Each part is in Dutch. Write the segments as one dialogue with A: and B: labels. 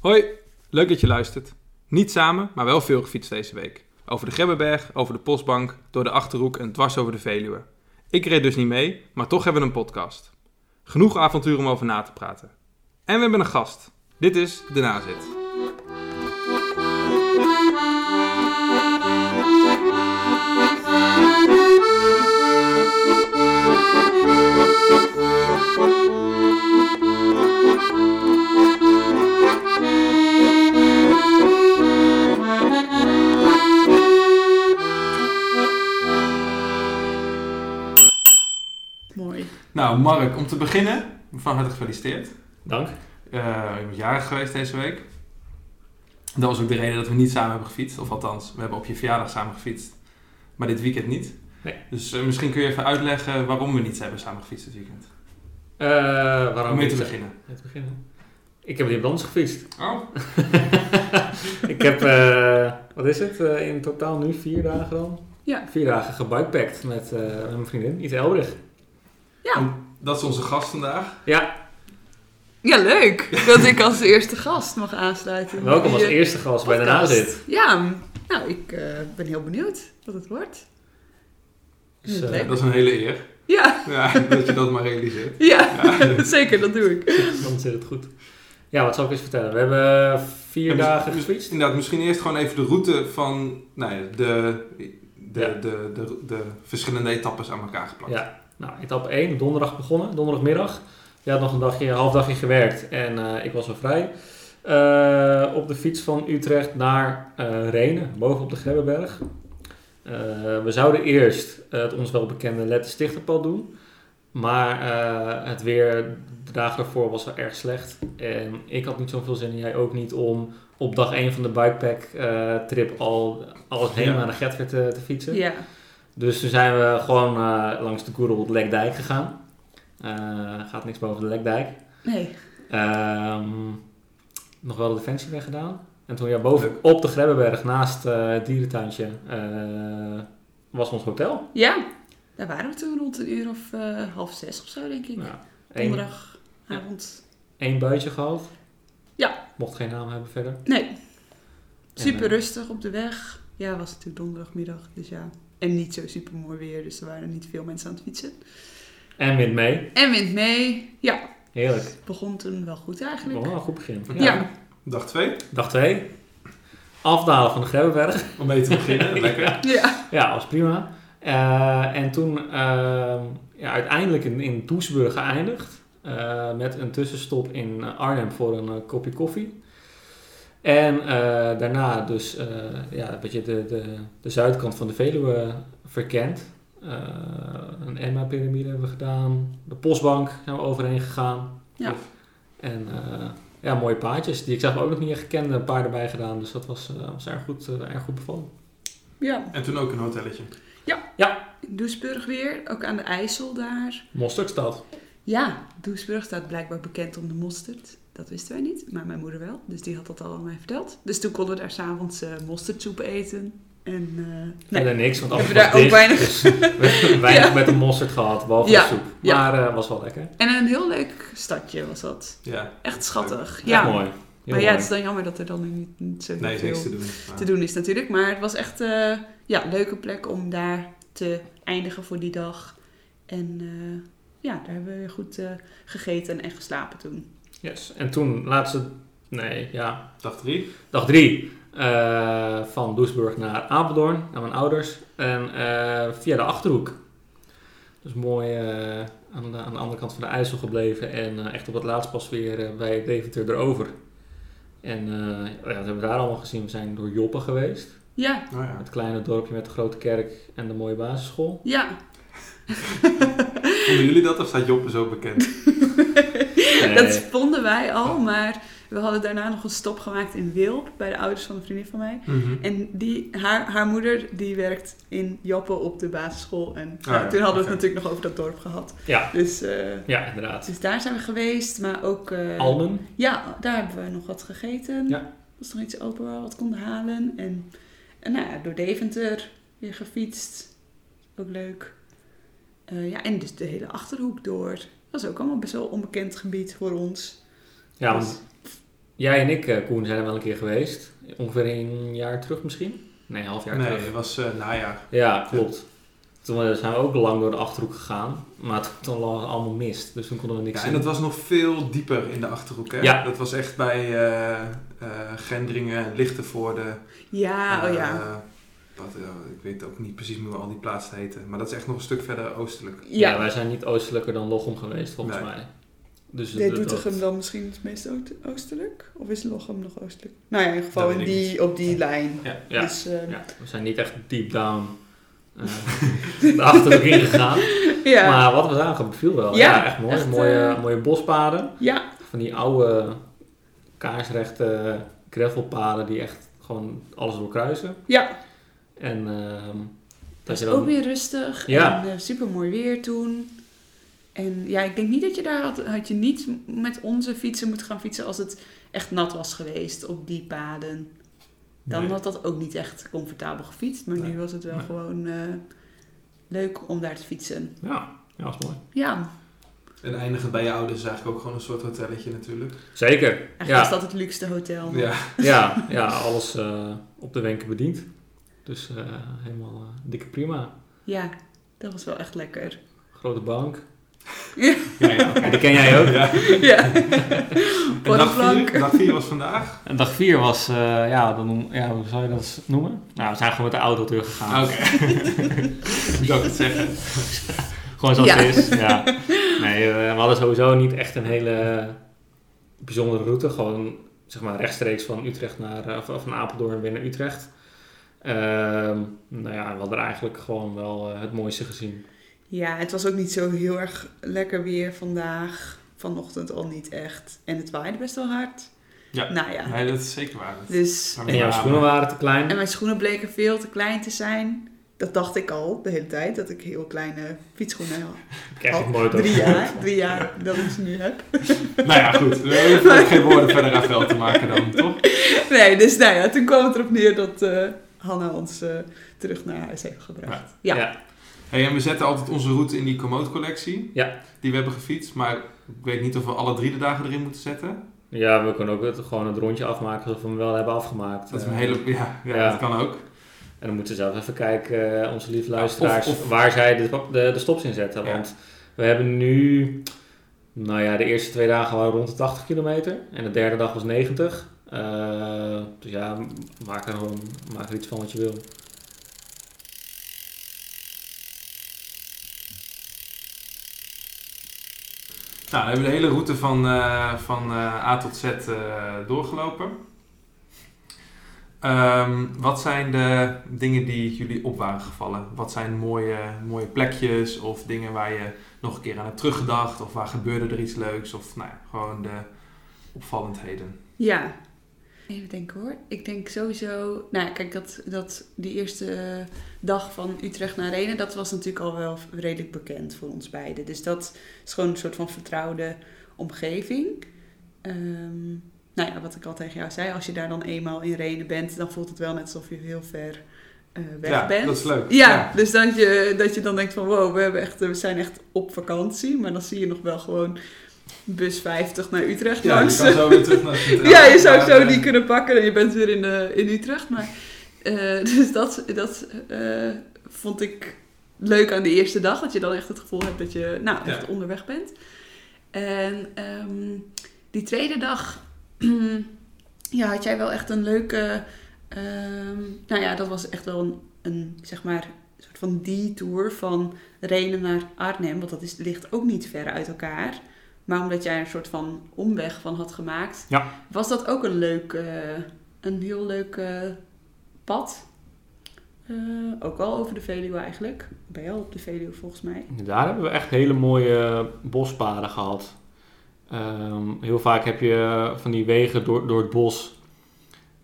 A: Hoi, leuk dat je luistert. Niet samen, maar wel veel gefietst deze week. Over de Grebbeberg, over de Postbank, door de Achterhoek en dwars over de Veluwe. Ik reed dus niet mee, maar toch hebben we een podcast. Genoeg avontuur om over na te praten. En we hebben een gast. Dit is De Nazit.
B: Mooi.
A: Nou, Mark, om te beginnen, van harte gefeliciteerd.
C: Dank.
A: Eh, je bent jarig geweest deze week. Dat was ook de reden dat we niet samen hebben gefietst. Of althans, we hebben op je verjaardag samen gefietst. Maar dit weekend niet.
C: Nee.
A: Dus eh, misschien kun je even uitleggen waarom we niet hebben samen gefietst dit weekend.
C: Eh, waarom
A: Om mee te
C: niet?
A: beginnen.
C: Mee te beginnen. Ik heb in balans gefietst.
A: Oh,
C: ik heb, eh, wat is het, eh, in totaal nu vier dagen dan?
B: Ja.
C: Vier dagen gebikepacked met, eh, met mijn vriendin, iets elderig.
A: dat is onze gast vandaag.
C: Ja,
B: Ja, leuk dat ik als eerste gast mag aansluiten.
C: welkom als
B: Je
C: eerste gast bij de
B: podcast.
C: nazit.
B: Ja, nou, ik eh, ben heel benieuwd wat het wordt.
C: Dus, eh,
B: Leuk.
A: Dat is een hele eer.
B: Ja,
A: Ja, dat je dat maar realiseert.
B: ja, zeker, dat doe ik.
C: dan zit het goed. Ja, wat zal ik eens vertellen? We hebben eh, vier
A: Ja, mis-
C: dagen
A: mis-
C: gefietst.
A: dus- Inderdaad, misschien eerst gewoon even de route van nou ja, de, de,
C: Ja.
A: de, de, de verschillende etappes aan elkaar geplakt.
C: Ja, nou, etappe 1, donderdag begonnen, donderdagmiddag. Je had nog een dagje, een half dagje gewerkt en eh, ik was wel vrij. Eh, op de fiets van Utrecht naar eh Renen, boven op de Grebbeberg. Eh, we zouden eerst eh, het ons wel bekende Lette Stichterpad doen. Maar eh, het weer de dagen daarvoor was wel erg slecht. En ik had niet zoveel zin en jij ook niet om op dag 1 van de bikepack eh, trip al alles helemaal
A: Ja.
C: naar de Getver te, te fietsen.
B: Ja,
C: Dus toen zijn we gewoon eh, langs de Koerel Lekdijk gegaan. Eh, gaat niks boven de Lekdijk.
B: nee.
C: Ehm, nog wel de defensieweg gedaan. En toen ja, boven op de Grebbeberg naast eh, het dierentuintje eh, was ons hotel.
B: Ja, daar waren we toen rond een uur of eh, half zes of zo, denk ik.
C: Nou, één,
B: Donderdagavond.
C: één buitje gehad.
B: Ja.
C: Mocht geen naam hebben verder.
B: Nee, super
C: En, eh,
B: rustig op de weg. Ja, was natuurlijk donderdagmiddag, dus ja. En niet zo super mooi weer, dus er waren niet veel mensen aan het fietsen.
C: En wind mee.
B: En wind mee. Ja,
C: Heerlijk.
B: begon toen wel goed eigenlijk.
C: Nog wel een goed begin.
A: Ja.
B: Ja,
A: Dag 2,
C: Dag 2. Afdalen van de Grebbeberg.
A: om mee te beginnen. Lekker.
B: ja.
C: Ja, was prima. Eh, en toen eh, ja, uiteindelijk in, in Doesburg geëindigd. eh, met een tussenstop in eh, Arnhem voor een eh, kopje koffie. En eh, daarna dus eh, ja, een beetje de, de, de zuidkant van de Veluwe verkend. Eh, een Emma-pyramide hebben we gedaan. De postbank zijn we overheen gegaan.
B: Ja.
C: En eh, ja, mooie paadjes die ik zelf ook nog niet echt kende. Een paar erbij gedaan. Dus dat was, eh, was erg, goed, eh, erg goed bevallen.
B: ja.
A: En toen ook een hotelletje.
B: In Doesburg weer, ook aan de IJssel daar.
C: Mosterdstad.
B: Ja, Doesburg staat blijkbaar bekend om de mosterd. Dat wisten wij niet, maar mijn moeder wel. Dus die had dat al aan mij verteld. Dus toen konden we daar s'avonds eh mosterdsoep eten. En eh, nee,
C: Verder niks, want af
B: Hebben we daar ook weinig-
C: Dus we hebben weinig met de mosterd gehad, behalve
B: Ja,
C: de soep.
B: ja.
C: Maar eh, was wel lekker.
B: en een heel leuk stadje was dat.
A: Ja.
B: Echt schattig. Ja,
C: Echt mooi. Heel
B: maar ja, het
C: mooi.
B: is dan jammer dat er dan nu niet, niet zo heel
A: Nee, is
B: veel
A: niks te
B: te,
A: doen. Ah. Maar-
B: doen is natuurlijk. Maar het was echt eh, ja, een leuke plek om daar te eindigen voor die dag. En eh, ja, daar hebben we weer goed eh, gegeten en geslapen toen.
C: Yes. En toen laatste, nee, ja,
A: Dag 3.
C: dag drie eh, van Doesburg naar Apeldoorn, naar mijn ouders. En eh, via de Achterhoek. Dus mooi eh, aan, de, aan de andere kant van de IJssel gebleven. En eh, echt op het laatst pas weer eh, bij Deventer erover. En eh, ja, wat hebben we daar allemaal gezien? We zijn door Joppe geweest.
B: Ja,
A: Nou ja.
C: Het kleine dorpje met de grote kerk en de mooie basisschool.
B: ja.
A: Vonden jullie dat of staat Joppe zo bekend?
C: Nee.
B: Dat vonden wij al, maar we hadden daarna nog een stop gemaakt in Wilp bij de ouders van een vriendin van mij.
A: Mhm.
B: En die, haar, haar moeder die werkt in Joppe op de basisschool. En nou,
A: ja,
B: toen hadden we het
A: oké.
B: natuurlijk nog over dat dorp gehad.
C: Ah, Ja,
B: Dus, eh,
C: ja inderdaad.
B: dus daar zijn we geweest, maar ook... eh,
C: Almen.
B: Ja, daar hebben we nog wat gegeten.
C: Ja.
B: Er was nog iets open waar we wat konden halen. En, en nou ja, door Deventer weer gefietst. Ook leuk. Eh, ja, en dus de hele Achterhoek door. Dat is ook allemaal best wel onbekend gebied voor ons.
C: Ja,
B: Dus-
C: want Jij en ik, eh, Koen, zijn er wel een keer geweest. Ongeveer een jaar terug misschien? Nee, een half jaar
A: nee,
C: terug.
A: het was eh najaar.
C: Ja, klopt. Toen eh, zijn we ook lang door de Achterhoek gegaan. Maar toen- toen lag het allemaal mist. Dus toen konden we niks
A: Ja,
C: zien.
A: en dat was nog veel dieper in de Achterhoek. Hè?
C: Ja.
A: Dat was echt bij eh, eh, Gendringen en Lichtenvoorde.
B: Ja, oh ja.
A: Eh, wat, eh, ik weet ook niet precies meer hoe al die plaatsen heten. Maar dat is echt nog een stuk verder oostelijk.
C: ja.
B: Ja,
C: wij zijn niet oostelijker dan Lochem geweest, volgens
A: Nee.
C: mij. Dus
B: dit
C: dat-
B: doet
C: dat-
B: hem dan misschien het meest oost- oostelijk? Of is Lochem nog oostelijk? Nou ja, in ieder geval
A: Dat
B: in
A: weet ik
B: die, op die lijn.
A: Ja.
C: Ja.
B: Dus, eh,
C: Ja, we zijn niet echt deep down eh, de Achterhoek ingegaan.
B: ja.
C: Maar wat we zagen beviel wel. Ja,
B: Ja,
C: echt mooi.
B: echt,
C: mooie,
B: eh,
C: mooie bospaden.
B: ja,
C: Van die oude kaarsrechte gravelpaden die echt gewoon alles doorkruisen.
B: ja.
C: En ehm,
B: Het
C: dat
B: was
C: je dan...
B: ook weer rustig.
C: Ja.
B: En super mooi weer toen. En ja, ik denk niet dat je daar had, had je niet met onze fietsen moeten gaan fietsen als het echt nat was geweest op die paden. Dan
A: Nee.
B: had dat ook niet echt comfortabel gefietst. Maar
A: Nee.
B: nu was het wel
C: Nee.
B: gewoon eh, leuk om daar te fietsen.
C: Ja, ja, dat is mooi.
B: Ja,
A: En eindigen bij je ouders is eigenlijk ook gewoon een soort hotelletje natuurlijk.
C: Zeker.
B: eigenlijk
C: Ja,
B: was dat het luukste hotel.
A: Ja.
C: ja, ja, alles eh, op de wenken bediend. Dus eh, helemaal eh, dikke prima.
B: Ja, dat was wel echt lekker.
C: Grote bank.
B: Ja.
C: Ja, ja, oké, die ken jij ook.
A: Ja.
B: ja.
A: En
B: Voor de
A: dag
B: plank.
A: 4 dag vier was vandaag.
C: En dag 4 was, eh, ja, dan, noem- ja, hoe zou je dat noemen? Nou, we zijn gewoon met de auto teruggegaan.
A: Hoe zou Ah, ik het zeggen?
C: Gewoon zoals
B: Ja.
C: het is. Ja. Nee, eh, we hadden sowieso niet echt een hele bijzondere route. Gewoon zeg maar rechtstreeks van Utrecht naar, eh, of, of van Apeldoorn weer naar Utrecht. Ehm, nou ja, we hadden er eigenlijk gewoon wel eh, het mooiste gezien.
B: Ja, het was ook niet zo heel erg lekker weer vandaag. Vanochtend al niet echt. En het waaide best wel hard.
A: Ja.
B: Nou ja,
A: Nee, dat is zeker waar. Dat
B: dus...
A: kan ik
C: En jouw
A: me
C: schoenen waren te klein.
B: En mijn schoenen bleken veel te klein te zijn. Dat dacht ik al de hele tijd. Dat ik heel kleine fietsschoenen had.
C: Ik krijg
A: Oh,
C: het nooit
B: drie
C: over.
B: jaar. Drie jaar dat ik ze nu heb.
A: Nou ja, goed. We hoeven ook geen woorden verder aan vuil te maken dan, toch?
B: Nee, dus nou ja, toen kwam het erop neer dat eh, Hanna ons eh, terug naar huis heeft gebracht. Ja.
A: Hey, en we zetten altijd onze route in die Komoot-collectie.
C: Ja.
A: Die we hebben gefietst. Maar ik weet niet of we alle drie de dagen erin moeten zetten.
C: Ja, we kunnen ook het, gewoon het rondje afmaken alsof we hem wel hebben afgemaakt.
A: Dat is een
C: Eh,
A: hele... Ja, ja,
C: Ja.
A: dat kan ook.
C: En dan moeten we zelf even kijken, eh, onze lieve luisteraars,
A: of- of-
C: waar zij de, de, de stops in zetten.
A: Ja.
C: Want we hebben nu, nou ja, de eerste twee dagen waren rond de 80 kilometer. En de derde dag was 90. Eh, dus ja, maak er, gewoon, maak er iets van wat je wil.
A: Nou, we hebben de hele route van, eh, van eh, A tot Z eh, doorgelopen. Ehm, wat zijn de dingen die jullie op waren gevallen? Wat zijn mooie, mooie plekjes of dingen waar je nog een keer aan hebt teruggedacht? Of waar gebeurde er iets leuks? Of nou, ja, gewoon de opvallendheden.
B: Ja. Even denken hoor. Ik denk sowieso... Nou ja, kijk, dat, dat die eerste dag van Utrecht naar Renen... dat was natuurlijk al wel redelijk bekend voor ons beiden. Dus dat is gewoon een soort van vertrouwde omgeving. Ehm, nou ja, wat ik al tegen jou zei. Als je daar dan eenmaal in Renen bent... dan voelt het wel net alsof je heel ver eh, weg
A: ja,
B: bent.
A: dat is leuk.
B: Ja, dus dat je, dat je dan denkt van wow, we, hebben echt, we zijn echt op vakantie. Maar dan zie je nog wel gewoon bus 50 naar Utrecht
A: Ja, je
B: langs.
A: kan zo weer terug naar het hotel.
B: Ja, je zou
A: Maar,
B: zo
A: eh,
B: die kunnen pakken en je bent weer in, eh, in Utrecht. Maar, eh, dus dat, dat eh, vond ik leuk aan de eerste dag. Dat je dan echt het gevoel hebt dat je nou,
A: Ja.
B: echt onderweg bent. En ehm, die tweede dag ja, had jij wel echt een leuke... ehm, nou ja, dat was echt wel een, een zeg maar... Een soort van detour van Renen naar Arnhem, want dat is, ligt ook niet ver uit elkaar. Maar omdat jij er een soort van omweg van had gemaakt, was dat ook een leuk, eh, een heel leuk eh, pad. Eh, ook al over de Veluwe eigenlijk. Ben je al op de Veluwe volgens mij.
C: Daar hebben we echt hele mooie bospaden gehad. Ehm, heel vaak heb je van die wegen door, door het bos.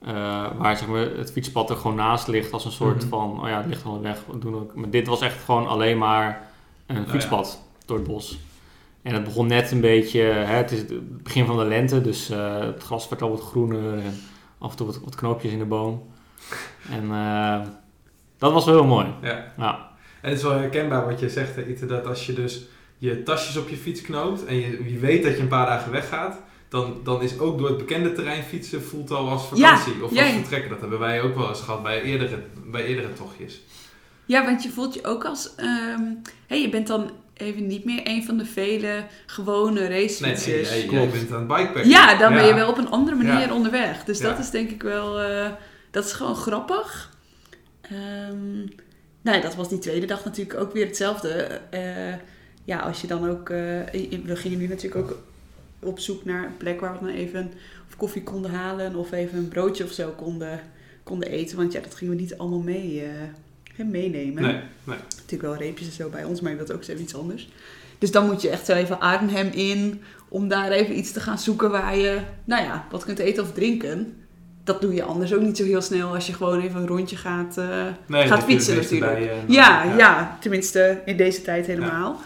C: eh, waar zeg maar, het fietspad er gewoon naast ligt als een soort
A: Mhm.
C: van, oh ja, het ligt gewoon weg. we doen ook. Maar dit was echt gewoon alleen maar een
A: Nou ja.
C: fietspad door het bos. En het begon net een beetje, hè, het is het begin van de lente, dus eh, het gras werd al wat groener en af en toe wat, wat knoopjes in de boom. En eh, dat was wel heel mooi.
A: Ja.
C: Ja.
A: En het is wel herkenbaar wat je zegt, hè, Ite, dat als je dus je tasjes op je fiets knoopt en je, je weet dat je een paar dagen weggaat, dan, dan is ook door het bekende terrein fietsen voelt al als vakantie
B: Ja,
A: of
B: ja,
A: als
B: ja.
A: vertrekken. Dat hebben wij ook wel eens gehad bij eerdere, bij eerdere tochtjes.
B: Ja, want je voelt je ook als... ehm, hey, je bent dan even niet meer een van de vele
A: Nee,
B: gewone racefietsers.
A: nee jij, jij
C: Klopt.
A: bent aan het bikepacken.
B: Ja, dan ben je
A: Ja.
B: wel op een andere manier
A: Ja.
B: onderweg. Dus dat
A: Ja.
B: is denk ik wel... eh, dat is gewoon grappig. Ehm, nou ja, dat was die tweede dag natuurlijk ook weer hetzelfde. Eh, ja, als je dan ook... eh, we gingen nu natuurlijk ook op zoek naar een plek waar we dan even of koffie konden halen... of even een broodje of zo konden, konden eten. Want ja, dat gingen we niet allemaal mee, eh, hè, meenemen
A: Nee, nee.
B: natuurlijk wel reepjes en zo bij ons, maar je wilt ook eens even iets anders. Dus dan moet je echt zo even Arnhem in om daar even iets te gaan zoeken waar je, nou ja, wat kunt eten of drinken. Dat doe je anders ook niet zo heel snel als je gewoon even een rondje gaat, eh,
A: nee
B: gaat
A: dat
B: fietsen
A: je het
B: natuurlijk.
A: bij, eh,
B: ja,
A: nou,
B: ja, tenminste in deze tijd helemaal.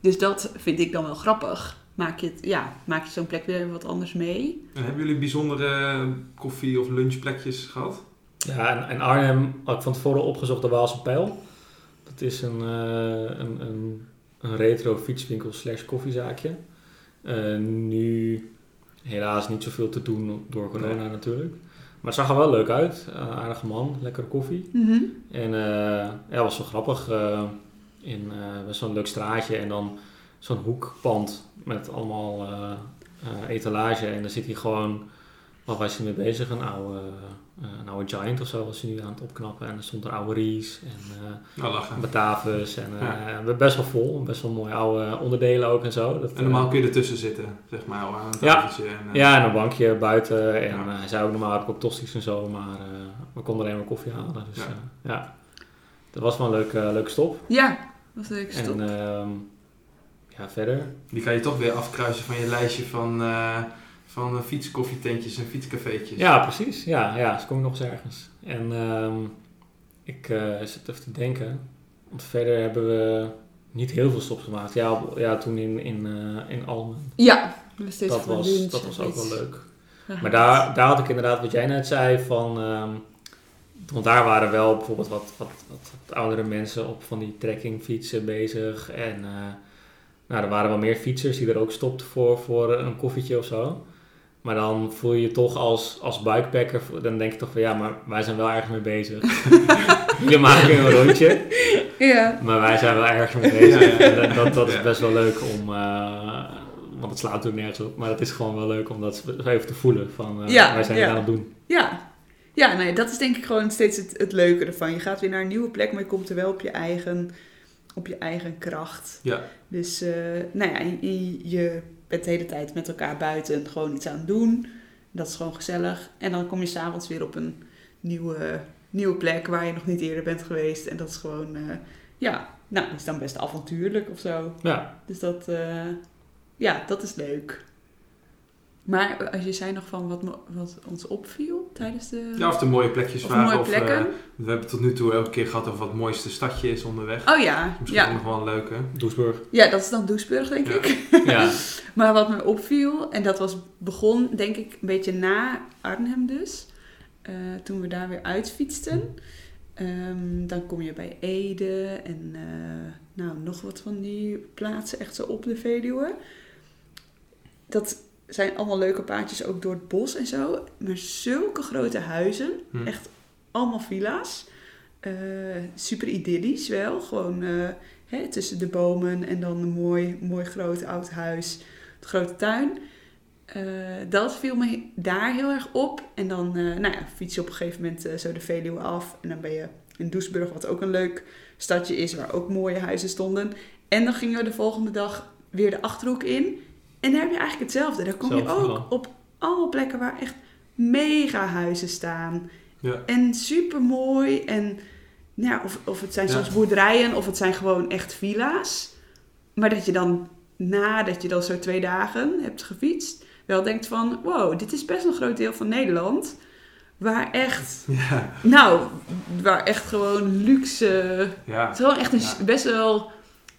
B: Dus dat vind ik dan wel grappig. Maak je, het, ja, maak je zo'n plek weer even wat anders mee.
A: En hebben jullie bijzondere koffie- of lunchplekjes gehad?
C: Ja, en, en Arnhem had ik van tevoren opgezocht de Waalse Pijl. Dat is een, eh, een, een, een retro fietswinkel slash koffiezaakje. Eh, nu helaas niet zoveel te doen door corona
A: Nee.
C: natuurlijk. Maar het zag er wel leuk uit. Eh, aardige man, lekkere koffie. En eh ja, was zo grappig. eh, in eh, best wel een leuk straatje en dan zo'n hoekpand met allemaal eh, eh, etalage. En dan zit hij gewoon, wat was hij mee bezig? Een oude, eh, een oude Giant of zo was hij nu aan het opknappen. En er stond er oude Ries en eh,
A: Nou, lachen.
C: Batavus. En eh, best wel vol, best wel mooie oude onderdelen ook en zo. Dat,
A: En normaal
C: eh,
A: kun je ertussen zitten, zeg maar, aan een
C: Ja.
A: tafeltje. En, eh,
C: ja, en een bankje buiten. En
A: Ja.
C: eh, hij zei ook normaal heb ik ook tosti's en zo, maar eh, we konden alleen maar koffie halen. Dus
A: Ja.
C: ja, ja. dat was wel een leuke, leuke stop.
B: Ja, dat is leuk.
C: En
B: stop.
C: ehm, ja, verder.
A: Die kan je toch weer afkruisen van je lijstje van, eh, van eh, fietskoffietentjes en fietscafeetjes.
C: Ja, precies. Ja, ja, ze komen nog eens ergens. En ehm, ik eh, zit even te denken. Want verder hebben we niet heel veel stops gemaakt. Ja, op- ja toen in, in, eh, in Almen.
B: ja, we zijn steeds
C: Dat
B: voor
C: was,
B: lunch
C: dat
B: of
C: was ook
B: iets.
C: wel leuk.
B: Ja.
C: Maar daar, daar had ik inderdaad wat jij net zei van... ehm, want daar waren wel bijvoorbeeld wat, wat, wat, wat oudere mensen op van die trekkingfietsen bezig. En eh, nou, er waren wel meer fietsers die er ook stopten voor, voor een koffietje of zo. Maar dan voel je je toch als, als bikepacker, dan denk je toch van ja, maar wij zijn wel ergens mee bezig. Jullie maken een rondje.
B: Ja.
C: Maar wij zijn wel ergens mee bezig.
A: Ja, ja.
C: Dat, dat, dat
A: Ja.
C: is best wel leuk om. eh, want het slaat natuurlijk nergens op. Maar het is gewoon wel leuk om dat even te voelen. Van, eh,
B: Ja,
C: wij zijn
B: ja.
C: er aan het doen.
B: Ja. Ja, nee, dat is denk ik gewoon steeds het, het leuke ervan. Je gaat weer naar een nieuwe plek, maar je komt er wel op je eigen, op je eigen kracht.
A: Ja.
B: Dus, eh, nou ja, je, je bent de hele tijd met elkaar buiten gewoon iets aan het doen. Dat is gewoon gezellig. En dan kom je s'avonds weer op een nieuwe, nieuwe plek waar je nog niet eerder bent geweest. En dat is gewoon, eh, ja, nou, dat is dan best avontuurlijk of zo.
C: Ja,
B: Dus dat, eh, ja, dat is leuk. Maar eh, als je zei nog van wat, me- wat ons opviel tijdens de...
A: Ja, of de mooie plekjes
B: Of
A: waren.
B: mooie
A: of, eh,
B: plekken.
A: we hebben tot nu toe elke keer gehad over wat het mooiste stadje is onderweg.
B: oh ja,
A: Misschien ook
B: ja.
A: nog wel een leuke.
C: Doesburg.
B: ja, dat is dan Doesburg, denk
A: Ja.
B: ik.
C: ja.
B: Maar wat me opviel, en dat was begon denk ik een beetje na Arnhem dus, eh, toen we daar weer uitfietsten. Ehm, dan kom je bij Ede en eh, nou, nog wat van die plaatsen echt zo op de Veluwe. Dat zijn allemaal leuke paadjes ook door het bos en zo. Maar zulke grote huizen.
A: Hm.
B: Echt allemaal villa's. Eh, super idyllisch wel. Gewoon eh, hè, tussen de bomen en dan een mooi, mooi groot oud huis. Het grote tuin. Eh, dat viel me he- daar heel erg op. En dan eh, nou ja, fiets je op een gegeven moment eh, zo de Veluwe af. En dan ben je in Doesburg, wat ook een leuk stadje is, waar ook mooie huizen stonden. En dan gingen we de volgende dag weer de Achterhoek in. En daar heb je eigenlijk hetzelfde. Daar kom je
C: Hetzelfde
B: ook op allemaal plekken waar echt mega huizen staan.
A: Ja.
B: En super mooi. En nou, ja, of, of het zijn
A: Ja.
B: soms boerderijen of het zijn gewoon echt villa's. Maar dat je dan nadat je dan zo twee dagen hebt gefietst, wel denkt van wow, dit is best een groot deel van Nederland. Waar echt,
A: Ja.
B: nou, waar echt gewoon luxe
A: ja.
B: het is gewoon echt een
A: Ja.
B: ch- best wel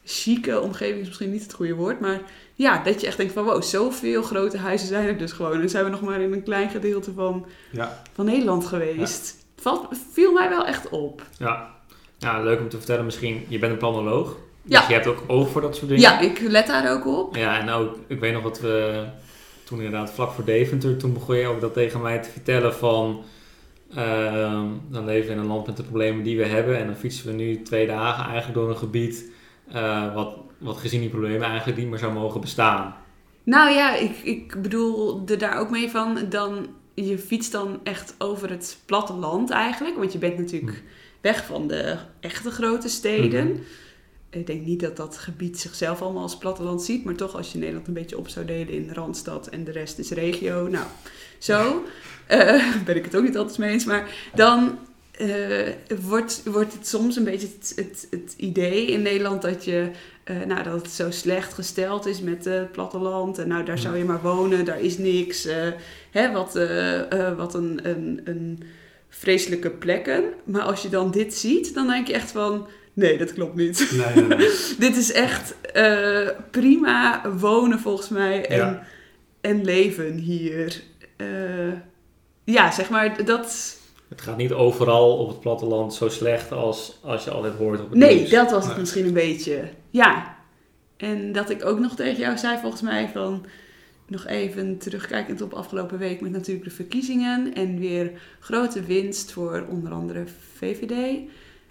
B: chique omgeving, is misschien niet het goede woord, maar ja, dat je echt denkt van wow, zoveel grote huizen zijn er dus gewoon. En zijn we nog maar in een klein gedeelte van,
A: Ja.
B: van Nederland geweest. Valt, viel mij wel echt op.
C: ja. Ja, leuk om te vertellen misschien. Je bent een planoloog.
B: Ja.
C: Dus je hebt ook oog voor dat soort dingen. nou,
B: Ja, ik let daar ook op.
C: Ja, en ook, ik weet nog dat we toen inderdaad vlak voor Deventer, toen begon je ook dat tegen mij te vertellen van... ehm, dan leven we in een land met de problemen die we hebben en dan fietsen we nu twee dagen eigenlijk door een gebied eh, wat, wat gezien die problemen eigenlijk niet meer zou mogen bestaan.
B: Nou ja, ik, ik bedoelde daar ook mee van. Dan, je fietst dan echt over het platteland eigenlijk. Want je bent natuurlijk weg van de echte grote steden. Ik denk niet dat dat gebied zichzelf allemaal als platteland ziet. Maar toch, als je Nederland een beetje op zou delen in Randstad en de rest is regio. Nou, zo. eh, ben ik het ook niet altijd mee eens. Maar dan eh, wordt, wordt het soms een beetje het, het, het idee in Nederland dat je eh, nou, dat het zo slecht gesteld is met eh, het platteland. En nou, daar zou je maar wonen, daar is niks. eh, hè, wat eh, eh, wat een, een, een vreselijke plekken. Maar als je dan dit ziet, dan denk je echt van... Nee, dat klopt niet.
C: Nee, nee, nee.
B: dit is echt eh, prima wonen volgens mij. En,
C: Ja.
B: en leven hier. Eh, ja, zeg maar, dat...
C: Het gaat niet overal op het platteland zo slecht als, als je altijd hoort op het
B: Nee,
C: nieuws.
B: dat was het
A: Nee.
B: misschien een beetje. Ja. En dat ik ook nog tegen jou zei, volgens mij, van nog even terugkijkend op afgelopen week met natuurlijk de verkiezingen en weer grote winst voor onder andere VVD.